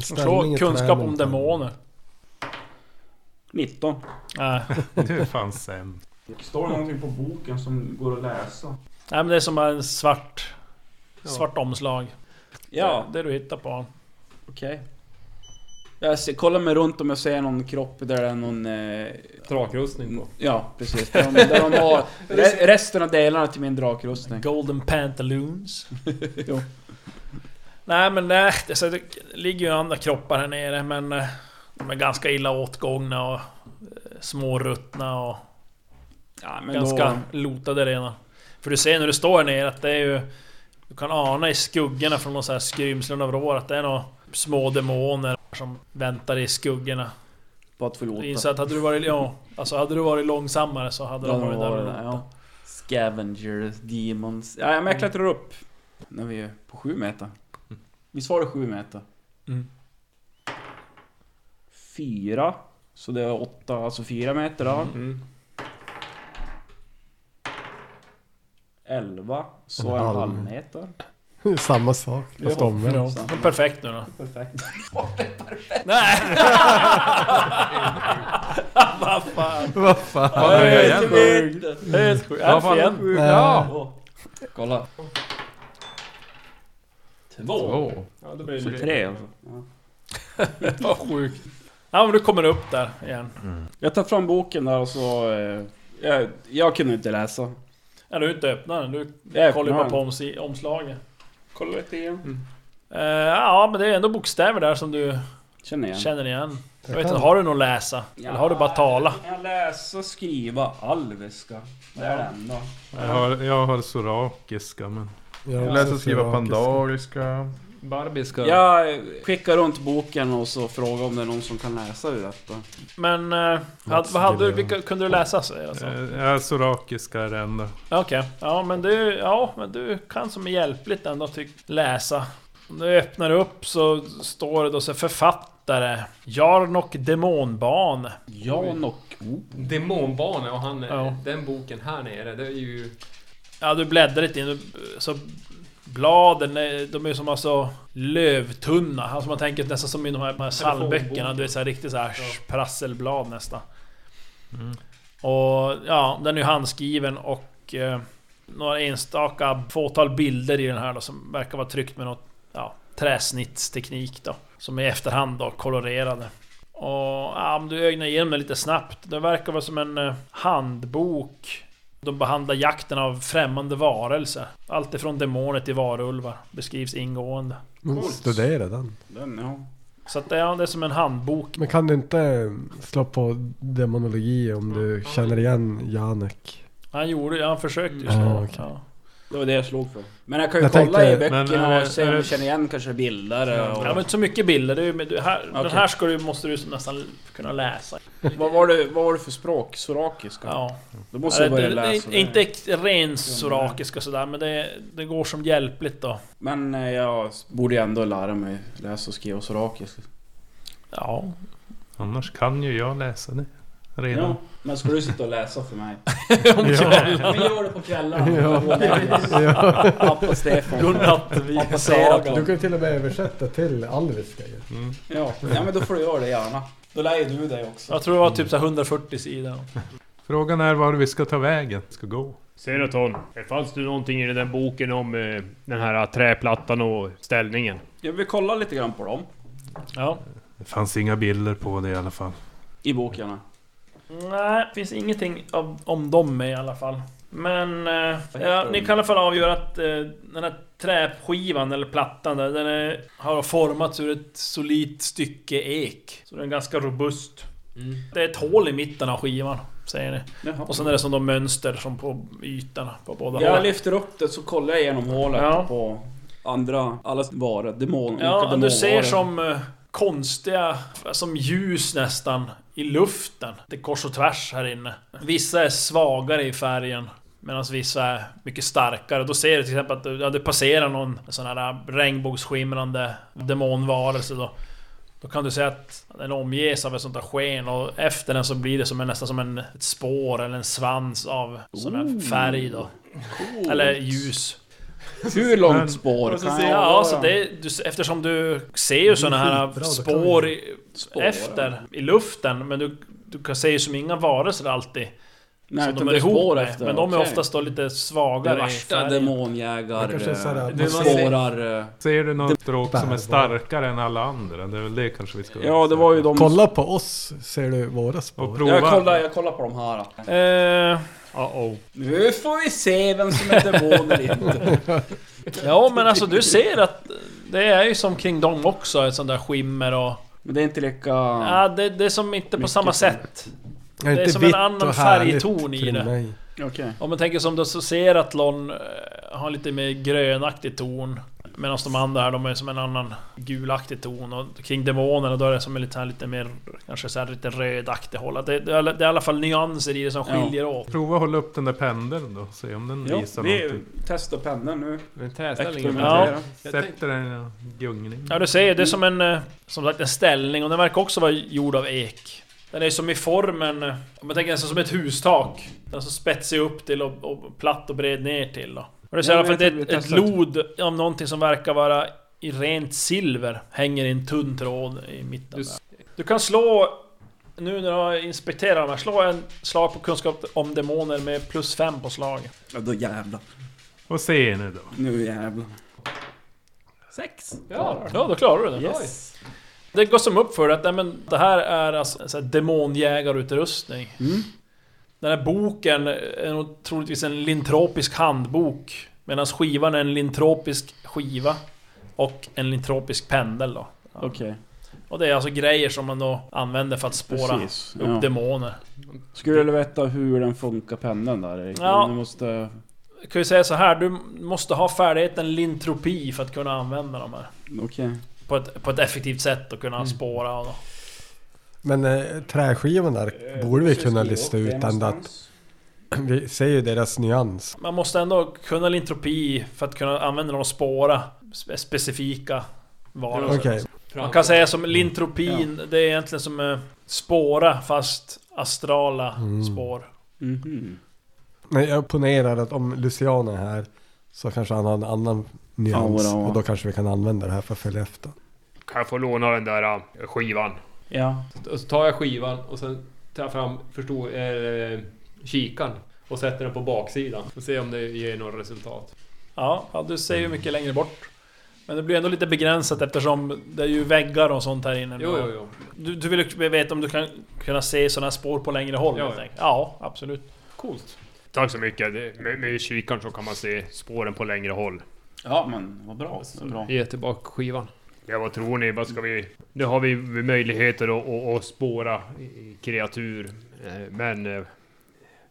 [SPEAKER 6] Ställning
[SPEAKER 2] Slå
[SPEAKER 6] i
[SPEAKER 2] kunskap
[SPEAKER 6] träden.
[SPEAKER 2] om demoner.
[SPEAKER 5] 19.
[SPEAKER 2] Nej,
[SPEAKER 3] Du är fan sämst.
[SPEAKER 5] Står det någonting på boken som går att läsa?
[SPEAKER 2] Nej men det är som en svart... Svart omslag.
[SPEAKER 5] Ja,
[SPEAKER 2] Det du hittar på honom.
[SPEAKER 5] okej. Jag ser, kollar mig runt om jag ser någon kropp där det är någon... Eh,
[SPEAKER 4] Trakrustning på.
[SPEAKER 5] ja, precis. Där de, där de har re, resten av delarna till min drakrustning.
[SPEAKER 2] Golden Pantaloons.
[SPEAKER 5] Jo.
[SPEAKER 2] Nej men nej, det, så det ligger ju andra kroppar här nere men... eh, De är ganska illa åtgångna och... eh, Småruttna och...
[SPEAKER 5] Ja, men
[SPEAKER 2] ganska
[SPEAKER 5] då...
[SPEAKER 2] lotade redan. För du ser när du står här nere att det är ju... Du kan ana i skuggorna från någon så här skrymslen av rår att det är några små demoner som väntar i skuggorna.
[SPEAKER 5] På att
[SPEAKER 2] Du
[SPEAKER 5] förlåta.
[SPEAKER 2] inser att hade du varit... Ja, alltså hade du varit långsammare så hade de
[SPEAKER 5] Ja,
[SPEAKER 2] varit
[SPEAKER 5] det var
[SPEAKER 2] där och
[SPEAKER 5] det där,
[SPEAKER 2] lotat.
[SPEAKER 5] ja. Scavengers, demons. Ja, men jag klättrar upp. När vi är på sju meter. Visst var det sju meter?
[SPEAKER 2] Mm.
[SPEAKER 5] Fyra. Så det är åtta, alltså fyra meter då. Elva. Så
[SPEAKER 6] En
[SPEAKER 5] en
[SPEAKER 6] halv.
[SPEAKER 5] halv meter.
[SPEAKER 6] Samma sak, fast
[SPEAKER 5] Ja.
[SPEAKER 6] omvänt.
[SPEAKER 2] Ja, men perfekt nu då.
[SPEAKER 5] Perfekt.
[SPEAKER 2] Nej! Vad fan.
[SPEAKER 6] Vad fan?
[SPEAKER 7] Ja, det är jävligt
[SPEAKER 2] sjukt. Helt sjukt.
[SPEAKER 7] Vad fan?
[SPEAKER 2] Alf igen.
[SPEAKER 6] Ja.
[SPEAKER 5] Kolla. Två.
[SPEAKER 7] Åh.
[SPEAKER 4] Ja, då blir det...
[SPEAKER 5] Tre alltså.
[SPEAKER 2] Vad sjukt. Ja men du kommer upp där igen.
[SPEAKER 5] Jag tar fram boken där och så... eh, Jag, jag kunde inte läsa.
[SPEAKER 2] Ja, du har inte öppnat den. Du
[SPEAKER 5] Jag
[SPEAKER 2] kollar ju bara
[SPEAKER 5] öppnar
[SPEAKER 2] på omsi- omslaget.
[SPEAKER 5] Kolla lite igen.
[SPEAKER 2] Eh, ja, men det är ändå bokstäver där som du
[SPEAKER 5] Känner igen.
[SPEAKER 2] känner igen. Jag vet
[SPEAKER 6] kan-
[SPEAKER 2] inte, har du någon läsa?
[SPEAKER 5] Ja.
[SPEAKER 2] Eller har du bara tala?
[SPEAKER 5] Jag läsa, skriva, alviska. Det är det enda.
[SPEAKER 3] Jag har, jag har sorakiska men...
[SPEAKER 6] Jag har
[SPEAKER 7] Jag läser
[SPEAKER 6] också
[SPEAKER 7] och skriva
[SPEAKER 6] syrakiska.
[SPEAKER 7] pandariska.
[SPEAKER 4] Barbiska.
[SPEAKER 5] Jag skickar runt boken och så frågar om det är någon som kan läsa ur detta.
[SPEAKER 2] Men... eh, had, vad hade du? Vilka, kunde du läsa? säger jag så?
[SPEAKER 3] Eh, Ja, sorakiska är det enda.
[SPEAKER 2] Okej. Ja, men du... Ja, men du kan som är hjälpligt ändå tyck, läsa. Om du öppnar upp så står det då så här, författare. Jarnok Demonban.
[SPEAKER 5] Jan och... Oh.
[SPEAKER 4] Demonbarnet och han,
[SPEAKER 2] Ja.
[SPEAKER 4] den boken här nere, det är ju...
[SPEAKER 2] Ja, du bläddrar lite in. Så bladen, är- de är som alltså lövtunna. Alltså man tänker nästan som i de här, de här psalmböckerna. Du är så här riktigt så här prasselblad nästan. Och ja, den är ju handskriven och eh, några enstaka fåtal bilder i den här då som verkar vara tryckt med något ja, träsnittsteknik då. Som i efterhand då kolorerade. Och ja, men du ögnar igenom det lite snabbt. Det verkar vara som en eh, handbok. De behandlar jakten av främmande varelser. Allt ifrån demoner till varulvar beskrivs ingående.
[SPEAKER 6] Men
[SPEAKER 5] Coolt.
[SPEAKER 6] Studera den.
[SPEAKER 5] Den, ja.
[SPEAKER 2] Så att det, ja, det är som en handbok.
[SPEAKER 6] Men kan du inte eh, slå på demonologi om du
[SPEAKER 2] Mm.
[SPEAKER 6] känner igen Janek?
[SPEAKER 2] Han gjorde han försökte ju
[SPEAKER 6] Ja,
[SPEAKER 2] slå.
[SPEAKER 6] okej.
[SPEAKER 2] Mm. ja.
[SPEAKER 5] Det var det jag slog för. Men jag kan ju
[SPEAKER 6] Jag
[SPEAKER 5] kolla
[SPEAKER 6] tänkte-
[SPEAKER 5] i
[SPEAKER 3] Men,
[SPEAKER 5] böckerna
[SPEAKER 3] eh,
[SPEAKER 5] och se om
[SPEAKER 3] eh,
[SPEAKER 5] jag känner igen kanske bilder och...
[SPEAKER 2] Ja, men inte så mycket bilder. Det är, ju- men du, här, Den
[SPEAKER 5] Okej.
[SPEAKER 2] här ska du, måste du nästan kunna läsa.
[SPEAKER 5] vad, var det, vad var det för språk? Sorakiska?
[SPEAKER 2] Ja.
[SPEAKER 5] Då måste jag
[SPEAKER 2] Ja, det-
[SPEAKER 5] börja
[SPEAKER 2] det-
[SPEAKER 5] läsa
[SPEAKER 2] det,
[SPEAKER 5] det.
[SPEAKER 2] inte ex- ren sorakiska sådär, men det, det går som hjälpligt då.
[SPEAKER 5] Men eh, jag borde ju ändå lära mig läsa och skriva sorakiska.
[SPEAKER 2] Ja.
[SPEAKER 3] Annars kan ju jag läsa det. Redan.
[SPEAKER 5] Ja, men ska du sitta och läsa för mig?
[SPEAKER 2] Om
[SPEAKER 5] Men gör det på kvällarna.
[SPEAKER 6] Ja.
[SPEAKER 5] Ja. Pappa Stefan.
[SPEAKER 2] Godnatt, vi
[SPEAKER 5] Pappa
[SPEAKER 2] passerat.
[SPEAKER 5] Saga.
[SPEAKER 6] Du kan ju till och med översätta till alviska ju.
[SPEAKER 3] Mm.
[SPEAKER 5] Ja. ja, men då får du göra det gärna. Då lär ju du dig också.
[SPEAKER 2] Jag tror det var typ så här 140 sidor.
[SPEAKER 3] Frågan är var vi ska ta vägen. Ska gå.
[SPEAKER 8] Seraton, fanns det någonting i den där boken om eh, den här träplattan och ställningen?
[SPEAKER 5] Jag vill kolla lite grann på dem.
[SPEAKER 2] Ja.
[SPEAKER 3] Det fanns inga bilder på det i alla fall.
[SPEAKER 5] I bokarna.
[SPEAKER 2] Nej, finns ingenting av, om dem med i alla fall. Men eh, ja, ni kan i alla fall avgöra att eh, den här träskivan eller plattan där, den är, har formats ur ett solidt stycke ek. Så den är ganska robust. Det är ett hål i mitten av skivan, säger ni.
[SPEAKER 5] Jaha.
[SPEAKER 2] Och sen är det som de mönster som på ytorna på båda
[SPEAKER 5] Jag
[SPEAKER 2] hållen.
[SPEAKER 5] lyfter upp det så kollar jag igenom hålet
[SPEAKER 2] Ja.
[SPEAKER 5] på andra, alla varor, demon, olika
[SPEAKER 2] Ja, du ser
[SPEAKER 5] demonvaror.
[SPEAKER 2] som eh, konstiga, som ljus nästan, i luften. Det är kors och tvärs här inne. Vissa är svagare i färgen. Medan vissa är mycket starkare. Då ser du till exempel att det- ja, det passerar någon sån här eh, regnbågsskimrande demonvarelse då. Då kan du se att den omges av ett sånt där sken och efter den så blir det som en, nästan som en, ett spår eller en svans av sån här färg då. Eller ljus.
[SPEAKER 5] Oh. Hur långt spår kan jag
[SPEAKER 2] Ja,
[SPEAKER 5] vara?
[SPEAKER 2] så det, du, eftersom du ser ju såna här
[SPEAKER 6] skitbra, då kan
[SPEAKER 2] spår,
[SPEAKER 6] vi-
[SPEAKER 2] i,
[SPEAKER 5] Spår,
[SPEAKER 2] efter i luften, men du, du kan se ju som inga varelser alltid.
[SPEAKER 5] Nej,
[SPEAKER 2] som
[SPEAKER 5] utan
[SPEAKER 2] de är
[SPEAKER 5] det är
[SPEAKER 2] ihop
[SPEAKER 5] spår
[SPEAKER 2] med,
[SPEAKER 5] efter.
[SPEAKER 2] men de är
[SPEAKER 5] okej.
[SPEAKER 2] oftast då lite
[SPEAKER 5] Det
[SPEAKER 2] svagare i
[SPEAKER 5] värsta
[SPEAKER 2] färgen.
[SPEAKER 6] Det
[SPEAKER 5] demonjägar...
[SPEAKER 6] kanske är så här
[SPEAKER 5] eh,
[SPEAKER 6] att
[SPEAKER 5] man
[SPEAKER 6] man
[SPEAKER 5] spårar... eh,
[SPEAKER 3] Ser du något stråk som är
[SPEAKER 6] Bärbara.
[SPEAKER 3] starkare än alla andra? Det är väl det kanske vi ska...
[SPEAKER 5] Ja, det var ju de...
[SPEAKER 6] Kolla på oss, ser du våra
[SPEAKER 3] Och
[SPEAKER 6] spår.
[SPEAKER 3] prova.
[SPEAKER 5] Jag kollar, jag kollar på de här.
[SPEAKER 2] Eh,
[SPEAKER 8] Uh-oh.
[SPEAKER 5] Nu får vi se vem som är demon eller inte.
[SPEAKER 2] ja, men alltså du ser att det är ju som kring dem också, ett sånt där skimmer och...
[SPEAKER 5] Men det är inte lika...
[SPEAKER 2] Ja, det, det är som inte på
[SPEAKER 5] Mycket
[SPEAKER 2] samma
[SPEAKER 5] fint.
[SPEAKER 2] sätt.
[SPEAKER 6] Jag
[SPEAKER 2] det är
[SPEAKER 6] inte
[SPEAKER 2] som en
[SPEAKER 6] vitt
[SPEAKER 2] annan
[SPEAKER 6] och härligt
[SPEAKER 2] färgton i
[SPEAKER 6] kring
[SPEAKER 2] det.
[SPEAKER 6] mig.
[SPEAKER 5] Okej.
[SPEAKER 2] Om man tänker som du så ser att Lon eh, har lite mer grönaktig ton Medan de andra här, de är som en annan gulaktig ton och kring demonerna då är det som en lite, här, lite mer Kanske så här lite rödaktig håll Att det, det är det är i alla fall nyanser i det som
[SPEAKER 5] Ja.
[SPEAKER 2] skiljer åt
[SPEAKER 3] Prova att hålla upp den där pendeln då. Se om den
[SPEAKER 5] Ja,
[SPEAKER 3] visar
[SPEAKER 5] vi
[SPEAKER 3] någonting.
[SPEAKER 5] testar pendeln nu.
[SPEAKER 4] Men träställningen.
[SPEAKER 5] Experimentera.
[SPEAKER 3] Sätter den i en gungning.
[SPEAKER 2] Ja du ser, det är som en eh, Som sagt en ställning och den verkar också vara gjord av ek Den är som i formen eh, Om man tänker nästan som ett hustak Den är så spetsig upp till och, och platt och bred ner till då. Och du ser i
[SPEAKER 5] Ja,
[SPEAKER 2] alla fall att det
[SPEAKER 5] jag
[SPEAKER 2] är ett,
[SPEAKER 5] tror vi
[SPEAKER 2] ett
[SPEAKER 5] testar.
[SPEAKER 2] lod av någonting som verkar vara i rent silver Hänger i en tunn tråd i mitten
[SPEAKER 4] Just-
[SPEAKER 2] där. Du kan slå Nu när du har inspekterat de här, slå en slag på kunskap om demoner med plus 5 på slaget
[SPEAKER 5] Ja, då jävlar.
[SPEAKER 3] Och se nu då.
[SPEAKER 5] Nu jävlar.
[SPEAKER 4] Sex!
[SPEAKER 2] Ja,
[SPEAKER 4] Ja!
[SPEAKER 2] då klarar du det
[SPEAKER 5] Yes.
[SPEAKER 2] Det går som upp för dig att nej, men det här är alltså, en sån här demonjägarutrustning.
[SPEAKER 5] Mm.
[SPEAKER 2] Den här boken är nog troligtvis en lintropisk handbok. Medan skivan är en lintropisk skiva. Och en lintropisk pendel då.
[SPEAKER 5] Okej.
[SPEAKER 2] Och det är alltså grejer som man då använder för att spåra
[SPEAKER 5] Precis.
[SPEAKER 2] upp
[SPEAKER 5] Ja.
[SPEAKER 2] demoner.
[SPEAKER 5] Skulle du veta hur den funkar pendeln där Erik?
[SPEAKER 2] Ja.
[SPEAKER 5] Du måste...
[SPEAKER 2] Jag kan ju säga så här, du måste ha färdigheten lintropi för att kunna använda de här.
[SPEAKER 5] Okej.
[SPEAKER 2] På ett, på ett effektivt sätt och
[SPEAKER 5] Mm.
[SPEAKER 2] kunna spåra. Och
[SPEAKER 6] Men eh, träskivan där
[SPEAKER 5] Eh,
[SPEAKER 6] Eh, borde vi kunna lista ut ända att vi ser ju deras nyans.
[SPEAKER 2] Man måste ändå kunna lintropi för att kunna använda dem och spåra spe- specifika varelser.
[SPEAKER 6] Okej,
[SPEAKER 2] Man kan säga som lintropin, det är egentligen som eh, spåra fast astrala
[SPEAKER 6] Mm.
[SPEAKER 2] spår.
[SPEAKER 5] Mhm.
[SPEAKER 6] men jag ponerar att om Lucian är här så kanske han har en annan nyans.
[SPEAKER 5] Ja, bra.
[SPEAKER 6] Och då kanske vi kan använda det här för att följa efter.
[SPEAKER 8] Kan jag få låna den där eh, skivan?
[SPEAKER 5] Ja.
[SPEAKER 4] Och så tar jag skivan och sen tar jag fram förstor, eh, kikaren och sätter den på baksidan. Och ser om det ger något resultat.
[SPEAKER 2] Ja, ja, du ser ju mycket längre bort. Men det blir ändå lite begränsat eftersom det är ju väggar och sånt här inne.
[SPEAKER 3] Jo, jo, jo.
[SPEAKER 2] Du, du vill ju veta om du kan kunna se sådana spår på längre håll?
[SPEAKER 3] Ja,
[SPEAKER 2] helt
[SPEAKER 3] ja.
[SPEAKER 2] enkelt. ja absolut.
[SPEAKER 3] Coolt.
[SPEAKER 4] Tack så mycket. Det- Med, med kikaren så kan man se spåren på längre håll.
[SPEAKER 5] Ja men vad bra. Det är bra.
[SPEAKER 3] Ge tillbaka skivan.
[SPEAKER 4] Ja, vad tror ni? Vad ska vi... Nu har vi möjligheter att, att, att spåra kreatur. Eh, Men eh,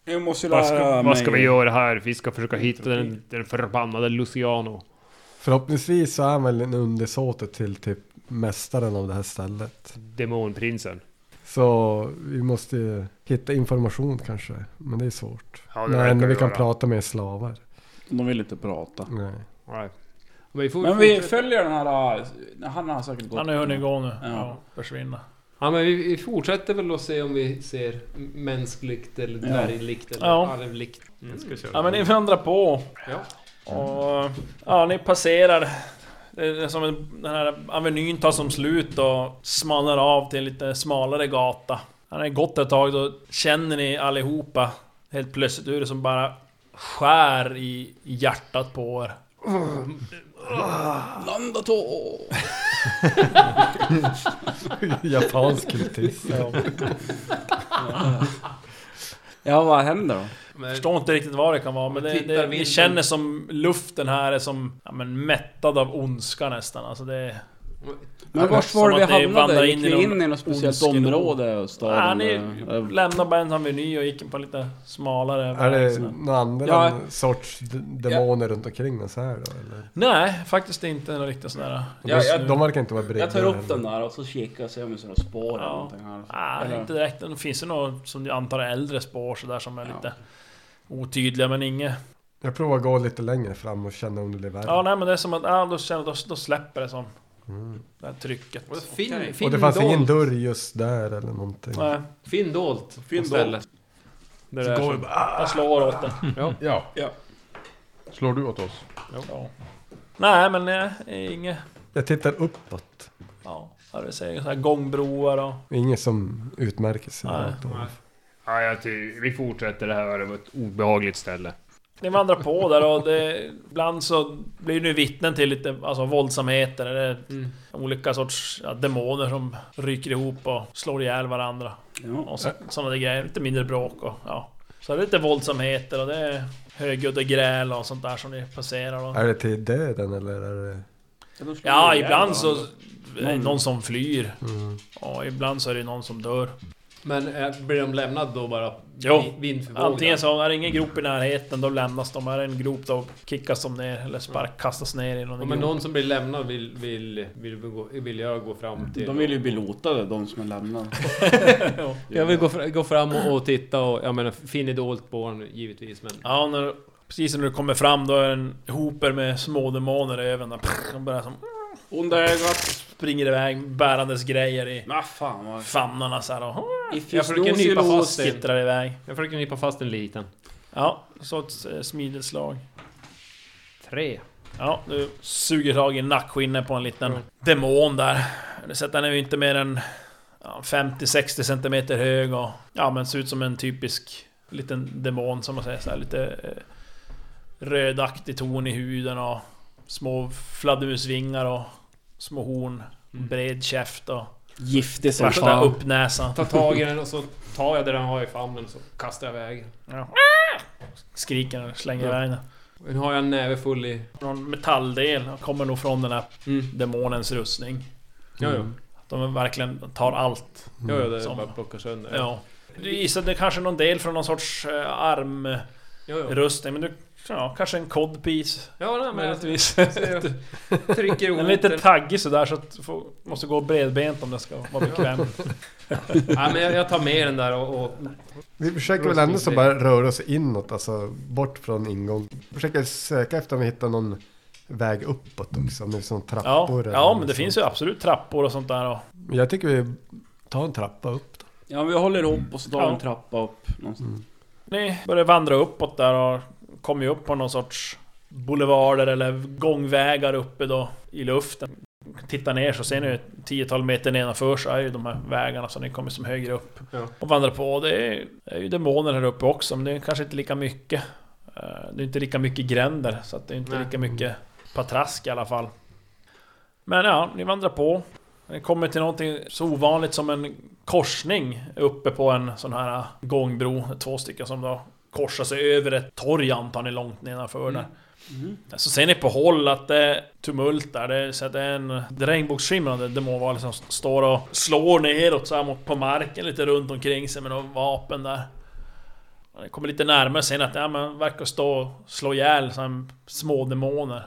[SPEAKER 5] Jag måste ju lära
[SPEAKER 4] vad ska, vad ska
[SPEAKER 5] mig.
[SPEAKER 4] vi göra här? Vi ska försöka hitta den, den förbannade Luciano.
[SPEAKER 6] Förhoppningsvis så är han väl en undersåte till typ mästaren av det här stället.
[SPEAKER 4] Demonprinsen.
[SPEAKER 6] Så vi måste ju hitta information kanske. Men det är svårt.
[SPEAKER 4] Ja,
[SPEAKER 6] det enda
[SPEAKER 4] verkar
[SPEAKER 6] vi kan
[SPEAKER 4] göra.
[SPEAKER 6] prata med är slavar.
[SPEAKER 5] De vill inte prata.
[SPEAKER 6] Nej.
[SPEAKER 4] Nej.
[SPEAKER 3] Men vi får
[SPEAKER 5] Men vi
[SPEAKER 3] fortsätta-
[SPEAKER 5] följer den här... äh, Han har säkert gått.
[SPEAKER 2] Han har hunnit gå nu.
[SPEAKER 5] Ja.
[SPEAKER 2] Ja. försvinna.
[SPEAKER 3] Ja men vi vi fortsätter väl att se om vi ser m- mänskligt eller
[SPEAKER 5] Ja.
[SPEAKER 3] dvärglikt eller
[SPEAKER 2] Ja.
[SPEAKER 3] alvlikt.
[SPEAKER 9] Jag ska köra.
[SPEAKER 2] Ja men ni vandrar på.
[SPEAKER 3] Ja.
[SPEAKER 2] Och, ja, ni passerar. Det är som en, den här avenyn tar som slut och smalnar av till en lite smalare gata. När ni gått ett tag då känner ni allihopa helt plötsligt hur det som bara skär i hjärtat på er.
[SPEAKER 5] Landa tå!
[SPEAKER 6] Japansk kultist.
[SPEAKER 5] Ja vad händer då?
[SPEAKER 3] Men,
[SPEAKER 2] Jag förstår inte riktigt vad det kan vara men det,
[SPEAKER 3] Tittar
[SPEAKER 2] det, ni
[SPEAKER 3] vinden.
[SPEAKER 2] känner som luften här är som ja, men mättad av ondska nästan. Alltså det,
[SPEAKER 5] Men vart
[SPEAKER 2] Som
[SPEAKER 5] var det vi
[SPEAKER 2] att det vandrar
[SPEAKER 5] hamnade?
[SPEAKER 2] in
[SPEAKER 5] Gick
[SPEAKER 2] i
[SPEAKER 5] vi
[SPEAKER 2] någon
[SPEAKER 5] in i något speciellt
[SPEAKER 2] ondskedom.
[SPEAKER 5] område? och Staden?
[SPEAKER 2] ja, ni
[SPEAKER 5] eller-
[SPEAKER 2] lämnade bara en sån meny och gick på en lite smalare
[SPEAKER 6] Är det
[SPEAKER 2] väg.
[SPEAKER 6] några andra
[SPEAKER 5] Ja.
[SPEAKER 6] sorts d- demoner runt omkring oss här då? Eller?
[SPEAKER 2] Nej, faktiskt inte något riktigt sådär.
[SPEAKER 5] Ja, jag-
[SPEAKER 6] De verkar inte vara beredda.
[SPEAKER 5] Jag tar upp den där och så kikar jag och ser om det är några spår eller
[SPEAKER 2] Ja.
[SPEAKER 5] någonting här.
[SPEAKER 2] Nej,
[SPEAKER 5] Eller-
[SPEAKER 2] Ah, inte direkt. Det finns ju något som jag antar är äldre spår sådär som är
[SPEAKER 5] Ja.
[SPEAKER 2] lite otydliga men inget.
[SPEAKER 6] Jag provar gå lite längre fram och känna om det blir värre.
[SPEAKER 2] Ja, nej men det är som att, ja då känner då, då släpper det som.
[SPEAKER 9] Mm.
[SPEAKER 2] Det här trycket.
[SPEAKER 3] och Finn,
[SPEAKER 5] Okej.
[SPEAKER 3] Finn
[SPEAKER 6] och det fanns
[SPEAKER 3] dolt.
[SPEAKER 6] ingen dörr just där eller någonting.
[SPEAKER 2] Nej,
[SPEAKER 3] Finn dolt.
[SPEAKER 5] Finn
[SPEAKER 3] på stället. Där det är
[SPEAKER 9] Går
[SPEAKER 3] som-
[SPEAKER 9] vi bara, ah,
[SPEAKER 2] jag slår åt den.
[SPEAKER 7] Ja.
[SPEAKER 5] Ja.
[SPEAKER 7] Slår du åt oss?
[SPEAKER 2] Ja. Nej men nej, inget.
[SPEAKER 6] Jag tittar uppåt.
[SPEAKER 2] Ja, ja, det säger så här gångbroar och...
[SPEAKER 6] Ingen som utmärker sig.
[SPEAKER 2] Nej.
[SPEAKER 6] Då.
[SPEAKER 4] Ja, jag ty- vi fortsätter det här. Det var ett obehagligt ställe.
[SPEAKER 2] Ni vandrar på där och det, ibland så blir ni vittnen till lite alltså, våldsamheter eller
[SPEAKER 3] Mm.
[SPEAKER 2] olika sorts ja, demoner som ryker ihop och slår ihjäl varandra.
[SPEAKER 5] Ja.
[SPEAKER 2] Och så, sådana där grejer, lite mindre bråk och ja. Så det är lite våldsamheter och det är högljudda gräl och sånt där som ni passerar. Och,
[SPEAKER 6] Är det till döden eller är det...
[SPEAKER 2] ja, ibland så är det
[SPEAKER 5] Någon-
[SPEAKER 2] någon som flyr
[SPEAKER 6] Mm.
[SPEAKER 2] och ibland så är det någon som dör.
[SPEAKER 3] Men eh, blir de lämnade då bara?
[SPEAKER 2] Jo.
[SPEAKER 3] vi- Vind för våg?
[SPEAKER 2] Antingen så är det ingen grop i närheten, då lämnas de. Är det en grop då kickas de ner eller spark, kastas ner i någon
[SPEAKER 3] Ja,
[SPEAKER 2] grop.
[SPEAKER 3] men någon som blir lämnad vill, vill, vill, vi gå, vill jag gå fram till.
[SPEAKER 5] De vill ju bli lotade, de som är lämnade.
[SPEAKER 3] Jag vill gå, fr- gå fram och, och titta och jag menar Finn är dolt på honom givetvis men...
[SPEAKER 2] Ja, när, precis när du kommer fram då är det en hoper med små demoner i öven. där. Prr, De börjar som
[SPEAKER 5] Onda ögat.
[SPEAKER 2] springer iväg bärandes grejer i
[SPEAKER 5] Men Ah, fan vad...
[SPEAKER 2] famnarna så här och
[SPEAKER 5] If
[SPEAKER 3] Jag
[SPEAKER 5] you
[SPEAKER 3] försöker
[SPEAKER 5] snooze, you
[SPEAKER 3] nypa
[SPEAKER 5] lose.
[SPEAKER 3] fast det.
[SPEAKER 2] skittrar iväg.
[SPEAKER 3] Jag försöker nypa fast en liten.
[SPEAKER 2] Ja, så ett eh, smidigt slag.
[SPEAKER 3] Tre.
[SPEAKER 2] Ja, du suger tag i nackskinnet på en liten demon där. Du ser att den är ju inte mer än ja, 50-60 centimeter hög och ja, men ser ut som en typisk liten demon som man säger så här, lite eh, rödaktig ton i huden och små fladdermusvingar och små horn,
[SPEAKER 3] Mm.
[SPEAKER 2] bred käft och
[SPEAKER 5] Giftig som
[SPEAKER 2] värsta
[SPEAKER 5] fan.
[SPEAKER 2] uppnäsan.
[SPEAKER 3] Ta tag i den och så tar jag det den har i famnen och så kastar jag iväg den.
[SPEAKER 2] Ja. Skriker och slänger
[SPEAKER 3] Ja.
[SPEAKER 2] iväg den.
[SPEAKER 3] Nu har jag en näve full i...
[SPEAKER 2] Någon metalldel kommer nog från den här
[SPEAKER 3] Mm.
[SPEAKER 2] demonens rustning.
[SPEAKER 3] Ja, ja.
[SPEAKER 2] De verkligen tar allt.
[SPEAKER 3] Ja, ja, det är
[SPEAKER 2] Som-
[SPEAKER 3] bara att plocka sönder.
[SPEAKER 2] Ja. Du gissar att det kanske är någon del från någon sorts eh, armrustning,
[SPEAKER 3] ja, ja.
[SPEAKER 2] men du... Ja, kanske en codpiece.
[SPEAKER 3] ja nej, men jag
[SPEAKER 2] Möjligtvis.
[SPEAKER 3] så jag trycker
[SPEAKER 2] Den
[SPEAKER 3] ihop
[SPEAKER 2] är lite taggig sådär så att du får, måste gå bredbent om det ska vara bekvämt.
[SPEAKER 3] Nej, men jag, jag tar med den där och... och
[SPEAKER 6] Vi försöker väl ändå så bara röra oss inåt, alltså bort från ingång. Försöker söka efter om vi hittar någon väg uppåt också, om det är som
[SPEAKER 2] Ja,
[SPEAKER 6] trappor eller
[SPEAKER 2] ja men
[SPEAKER 6] något
[SPEAKER 2] det finns ju
[SPEAKER 6] sånt.
[SPEAKER 2] absolut trappor och sånt där och...
[SPEAKER 6] Men Jag tycker vi tar en trappa upp då.
[SPEAKER 5] Ja, vi håller ihop och så tar vi en
[SPEAKER 2] Ja.
[SPEAKER 5] trappa upp någonstans.
[SPEAKER 2] Ni börjar vandra uppåt där och kommer ju upp på någon sorts boulevarder eller gångvägar uppe då i luften. Tittar ner så ser ni ett tiotal meter nedanför så är ju de här vägarna så ni kommer som högre upp.
[SPEAKER 3] Ja.
[SPEAKER 2] Och vandrar på. Det är, det är ju demoner här uppe också men det är kanske inte lika mycket. Eh, Det är inte lika mycket gränder så att det är inte
[SPEAKER 3] Nej.
[SPEAKER 2] lika mycket patrask i alla fall. Men ja, ni vandrar på. Ni kommer till någonting så ovanligt som en korsning uppe på en sån här gångbro. Två stycken som då korsar sig över ett torg antar ni långt nedanför där.
[SPEAKER 5] Mm.
[SPEAKER 2] Så ser ni på håll att det är tumult där. Det är, så att det är en det är regnbågsskimrande demonvarelse som står och slår neråt så här mot, på marken lite runt omkring sig med några vapen där. Och det kommer lite närmare sen att ja, men verkar stå och slå ihjäl så här små demoner.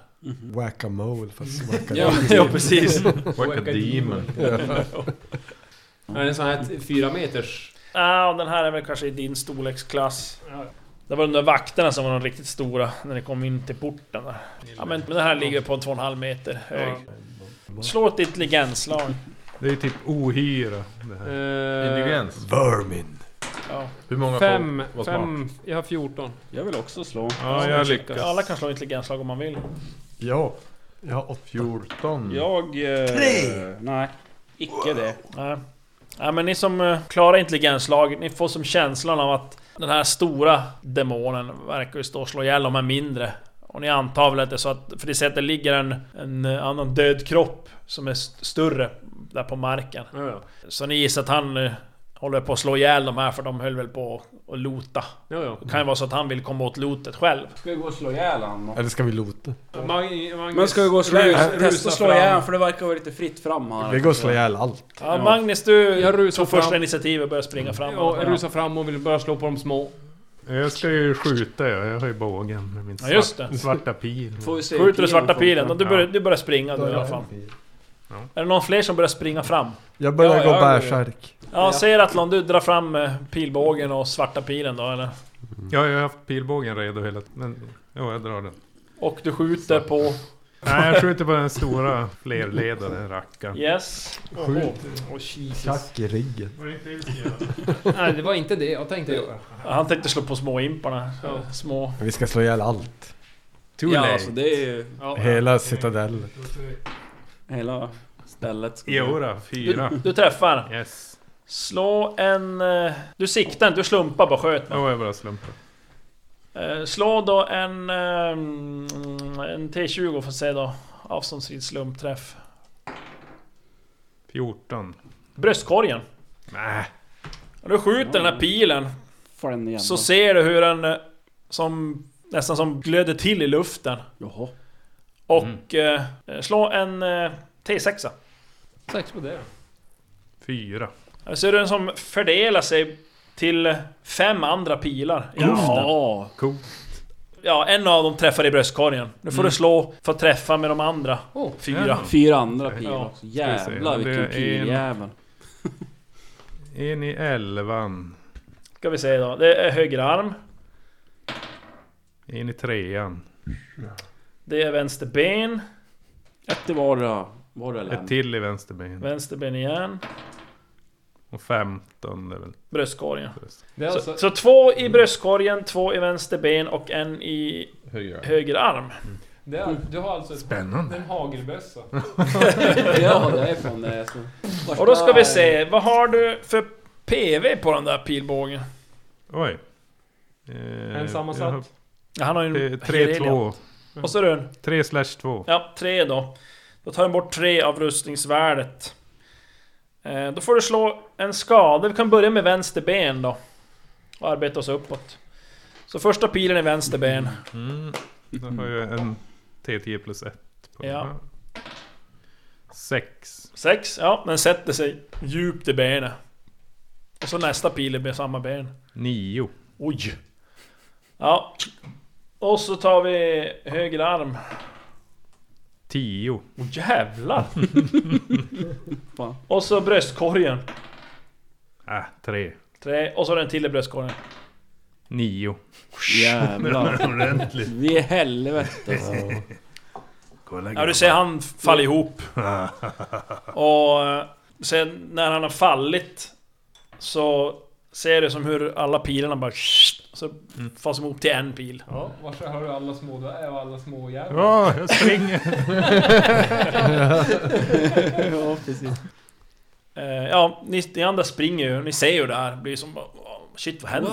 [SPEAKER 6] Whack-a-mole fast
[SPEAKER 5] Ja,
[SPEAKER 6] whack-a-mole.
[SPEAKER 2] ja precis.
[SPEAKER 7] Demon.
[SPEAKER 4] Ja, det är en sån här t- fyra meters...
[SPEAKER 2] Ja, och den här är väl kanske i din storleksklass. Det var de där vakterna som var de riktigt stora när ni kom in till porten där. Ja, men men den här ligger på en 2,5 meter hög. Slå ett intelligensslag.
[SPEAKER 3] Det är ju typ ohyra det här.
[SPEAKER 4] Eh,
[SPEAKER 7] Intelligens.
[SPEAKER 6] Vermin.
[SPEAKER 2] Ja.
[SPEAKER 7] Hur många
[SPEAKER 4] fem,
[SPEAKER 7] får? Vad smart.
[SPEAKER 4] fem... Jag har 14.
[SPEAKER 5] Jag vill också slå.
[SPEAKER 3] Ja, jag lyckas.
[SPEAKER 2] Alla kan slå intelligensslag om man vill.
[SPEAKER 6] Ja. Jag har åtta.
[SPEAKER 7] 14.
[SPEAKER 5] Jag... Eh,
[SPEAKER 6] Tre!
[SPEAKER 5] Nej, icke det.
[SPEAKER 2] Nej. Ja, men ni som eh, klarar intelligenslaget, ni får som känslan av att den här stora demonen verkar ju stå och slå ihjäl de här mindre. Och ni antar väl att det är så att... För ni ser att det ligger en, en eh, annan död kropp som är st- större där på marken.
[SPEAKER 4] Ja,
[SPEAKER 2] Så ni gissar att han eh, håller på att slå ihjäl de här för de höll väl på att lota.
[SPEAKER 4] ja.
[SPEAKER 2] Det kan ju vara så att han vill komma åt lotet själv.
[SPEAKER 5] Ska vi gå och slå ihjäl honom?
[SPEAKER 6] Eller ska vi lota?
[SPEAKER 4] ja. Mag- Magnus,
[SPEAKER 5] Men ska vi gå och slå,
[SPEAKER 4] rus-
[SPEAKER 5] testa
[SPEAKER 4] rusa
[SPEAKER 5] att slå
[SPEAKER 4] fram.
[SPEAKER 5] ihjäl honom? För det verkar vara lite fritt fram här.
[SPEAKER 6] Vi går och slår ihjäl allt.
[SPEAKER 2] Ja, Magnus, du
[SPEAKER 4] Jag rusar
[SPEAKER 2] tog första
[SPEAKER 4] fram.
[SPEAKER 2] initiativet och började springa
[SPEAKER 4] Ja,
[SPEAKER 2] framåt.
[SPEAKER 4] jag rusar fram och vill börja slå på de små.
[SPEAKER 3] Jag ska ju skjuta jag, jag har ju bågen med min
[SPEAKER 2] Ja, just
[SPEAKER 3] svart,
[SPEAKER 2] det.
[SPEAKER 3] svarta pil.
[SPEAKER 5] Får vi se hur
[SPEAKER 2] Skjuter den svarta
[SPEAKER 5] pilen
[SPEAKER 2] pilen.
[SPEAKER 5] funkar.
[SPEAKER 2] Och Du börjar, du börjar springa nu i alla fall. Är det någon fler som börjar springa fram?
[SPEAKER 6] Jag börjar
[SPEAKER 5] Ja,
[SPEAKER 6] gå
[SPEAKER 5] jag-
[SPEAKER 6] bärsärk.
[SPEAKER 2] Ja,
[SPEAKER 5] Ja.
[SPEAKER 2] säger Atlon, du drar fram eh, pilbågen och svarta pilen då eller?
[SPEAKER 3] Ja, jag har haft pilbågen redo hela tiden. Men, ja, jag drar den.
[SPEAKER 2] Och du skjuter på...
[SPEAKER 3] Nej, jag skjuter på den stora flerledade rackaren.
[SPEAKER 2] Yes.
[SPEAKER 6] Tack i ryggen.
[SPEAKER 4] Nej, det var inte det jag tänkte göra.
[SPEAKER 2] Han tänkte slå på småimparna.
[SPEAKER 4] Ja.
[SPEAKER 2] Små...
[SPEAKER 6] Vi ska slå ihjäl allt.
[SPEAKER 3] Too
[SPEAKER 5] Ja,
[SPEAKER 3] late.
[SPEAKER 5] alltså det är ju
[SPEAKER 6] Hela citadellen.
[SPEAKER 5] hela stället. ska-
[SPEAKER 3] Jodå, fyra.
[SPEAKER 2] Du träffar.
[SPEAKER 3] Yes.
[SPEAKER 2] Slå en... eh, Du siktar inte, du slumpar bara sköt.
[SPEAKER 3] Då var jag bara slumpen.
[SPEAKER 2] Eh, Slå då en... eh, mm, En T20 får se då. Avståndsvis slumpträff.
[SPEAKER 3] 14.
[SPEAKER 2] Bröstkorgen.
[SPEAKER 3] Nej.
[SPEAKER 2] Och du skjuter den här pilen
[SPEAKER 5] Får den igen
[SPEAKER 2] Så
[SPEAKER 5] då.
[SPEAKER 2] ser du hur den eh, som nästan som glöder till i luften.
[SPEAKER 5] Jaha.
[SPEAKER 3] Mm.
[SPEAKER 2] Och eh, slå en eh, T6.
[SPEAKER 4] Sex på det.
[SPEAKER 3] Fyra.
[SPEAKER 2] Här ser du den som fördelar sig till fem andra pilar i luften.
[SPEAKER 5] Ja.
[SPEAKER 3] Cool.
[SPEAKER 2] Ja, en av dem träffar i bröstkorgen. Nu
[SPEAKER 3] Mm.
[SPEAKER 2] får du slå för att träffa med de andra.
[SPEAKER 4] Oh,
[SPEAKER 2] Fyra.
[SPEAKER 5] Fyra andra pilar
[SPEAKER 2] Ja,
[SPEAKER 5] också.
[SPEAKER 3] se.
[SPEAKER 5] Jävlar
[SPEAKER 3] Men det är
[SPEAKER 5] vilken
[SPEAKER 3] en-
[SPEAKER 5] piljävel.
[SPEAKER 3] En i elvan.
[SPEAKER 2] Ska vi se då. Det är höger arm.
[SPEAKER 3] En i trean.
[SPEAKER 2] Det är vänster ben.
[SPEAKER 5] Ett i vardera. Vardera län.
[SPEAKER 3] Ett till i vänster ben.
[SPEAKER 2] Vänster ben igen.
[SPEAKER 3] Och femton är väl
[SPEAKER 2] Bröstkorgen.
[SPEAKER 4] Det är alltså...
[SPEAKER 2] Så, så två i bröstkorgen, två i vänster ben och en i
[SPEAKER 7] Högre.
[SPEAKER 2] höger arm.
[SPEAKER 4] Det är, du har alltså...
[SPEAKER 3] Spännande.
[SPEAKER 4] En hagelbössa.
[SPEAKER 5] Ja, det är fan det. Alltså.
[SPEAKER 2] Och då ska vi se, vad har du för PV på den där pilbågen?
[SPEAKER 3] Oj. Eh,
[SPEAKER 4] En sammansatt.
[SPEAKER 2] Ja, han har ju en... Heredia.
[SPEAKER 3] 3-2.
[SPEAKER 2] Och så är det en...
[SPEAKER 3] 3 slash 2.
[SPEAKER 2] Ja, tre då. Då tar den bort tre av rustningsvärdet. Eh, då får du slå en skada. Vi kan börja med vänster ben då. Och arbeta oss uppåt. Så första pilen är vänster ben.
[SPEAKER 3] Mm. Då har jag en T10 plus 1.
[SPEAKER 2] Ja.
[SPEAKER 3] 6.
[SPEAKER 2] Sex, ja, den sätter sig djupt i benet. Och så nästa pil är med samma ben.
[SPEAKER 3] 9.
[SPEAKER 2] Oj! Ja. Och så tar vi höger arm.
[SPEAKER 3] 10.
[SPEAKER 2] Åh jävlar!
[SPEAKER 5] Fan.
[SPEAKER 2] och så bröstkorgen.
[SPEAKER 3] Äh, 3.
[SPEAKER 2] Tre, och så den till i bröstkorgen.
[SPEAKER 3] 9.
[SPEAKER 5] Jävlar.
[SPEAKER 3] Ordentligt.
[SPEAKER 5] Vi är helvete.
[SPEAKER 2] Ja du ser han faller ihop. och eh, sen när han har fallit så ser du som hur alla pilarna bara så fas ihop till en pil.
[SPEAKER 4] Ja, varsågod har du alla små du är och alla små jävlar.
[SPEAKER 3] Ja, jag springer.
[SPEAKER 5] ja, precis.
[SPEAKER 2] Eh, ja, ni, ni andra springer ju. Ni ser ju det här. Blir som bara... "Åh, Shit vad händer?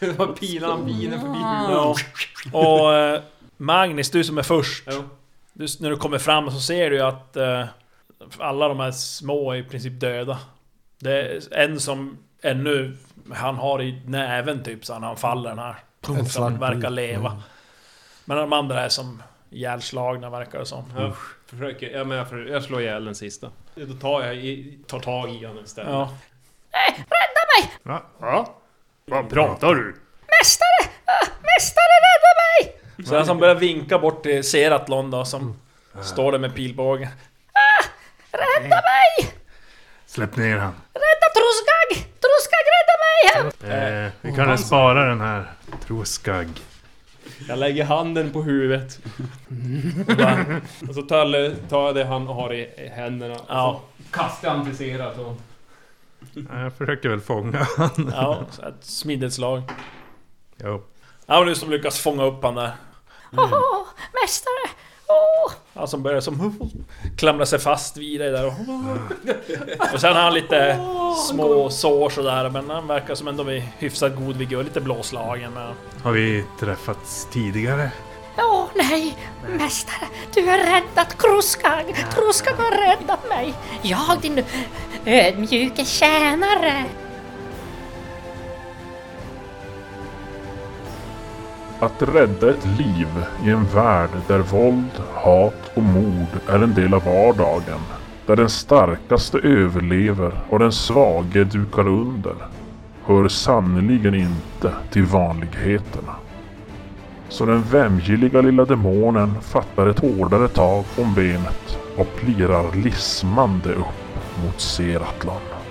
[SPEAKER 4] Det var pilan, bilen förbi huvudet.
[SPEAKER 2] Ja. Och eh, Magnus, du som är först.
[SPEAKER 4] Ja.
[SPEAKER 2] Du, när du kommer fram så ser du ju att eh, alla de här små är i princip döda. Det är en som ännu, han har i näven typ så han, han faller den här.
[SPEAKER 6] En
[SPEAKER 2] Som
[SPEAKER 6] svart
[SPEAKER 2] verkar
[SPEAKER 6] bit.
[SPEAKER 2] leva.
[SPEAKER 6] Mm.
[SPEAKER 2] Men de andra är som ihjälslagna verkar det som.
[SPEAKER 8] Jag försöker, ja, men jag, för, jag slår ihjäl den sista. Då tar jag i, tar tag i honom istället.
[SPEAKER 2] Ja.
[SPEAKER 3] Va?
[SPEAKER 8] Ja? Vad pratar du?
[SPEAKER 10] Ah,
[SPEAKER 2] Så han som börjar vinka bort till Seratlon då som står där med pilbågen.
[SPEAKER 3] Släpp ner han.
[SPEAKER 10] Truskag! Truskag, rädda mig!
[SPEAKER 3] Eh, vi kan spara den här troskagg.
[SPEAKER 4] Jag lägger handen på huvudet. Och bara- och så tar jag, tar jag det han har i i händerna. Och
[SPEAKER 2] Ja.
[SPEAKER 4] så kastar jag han till Sera. Så.
[SPEAKER 3] Jag försöker väl fånga han.
[SPEAKER 2] Ja, så ett smidigt slag.
[SPEAKER 3] Jo.
[SPEAKER 2] Ja, men du som lyckas fånga upp han där.
[SPEAKER 10] Åh, mästare! Åh!
[SPEAKER 2] Han som börjar som klamra sig fast vid dig där och... Och sen har han lite små sår sådär men han verkar som ändå vid hyfsat god vigör, lite blåslagen men...
[SPEAKER 3] Har vi träffats tidigare?
[SPEAKER 10] Åh nej, mästare! Du har räddat Truskag! Truskag har räddat mig! Jag, din ödmjuke tjänare!
[SPEAKER 1] Att rädda ett liv i en värld där våld, hat och mord är en del av vardagen. Där den starkaste överlever och den svage dukar under. Hör sannerligen inte till vanligheterna. Så den vämjeliga lilla demonen fattar ett hårdare tag om benet och plirar lismande upp mot Seratlan.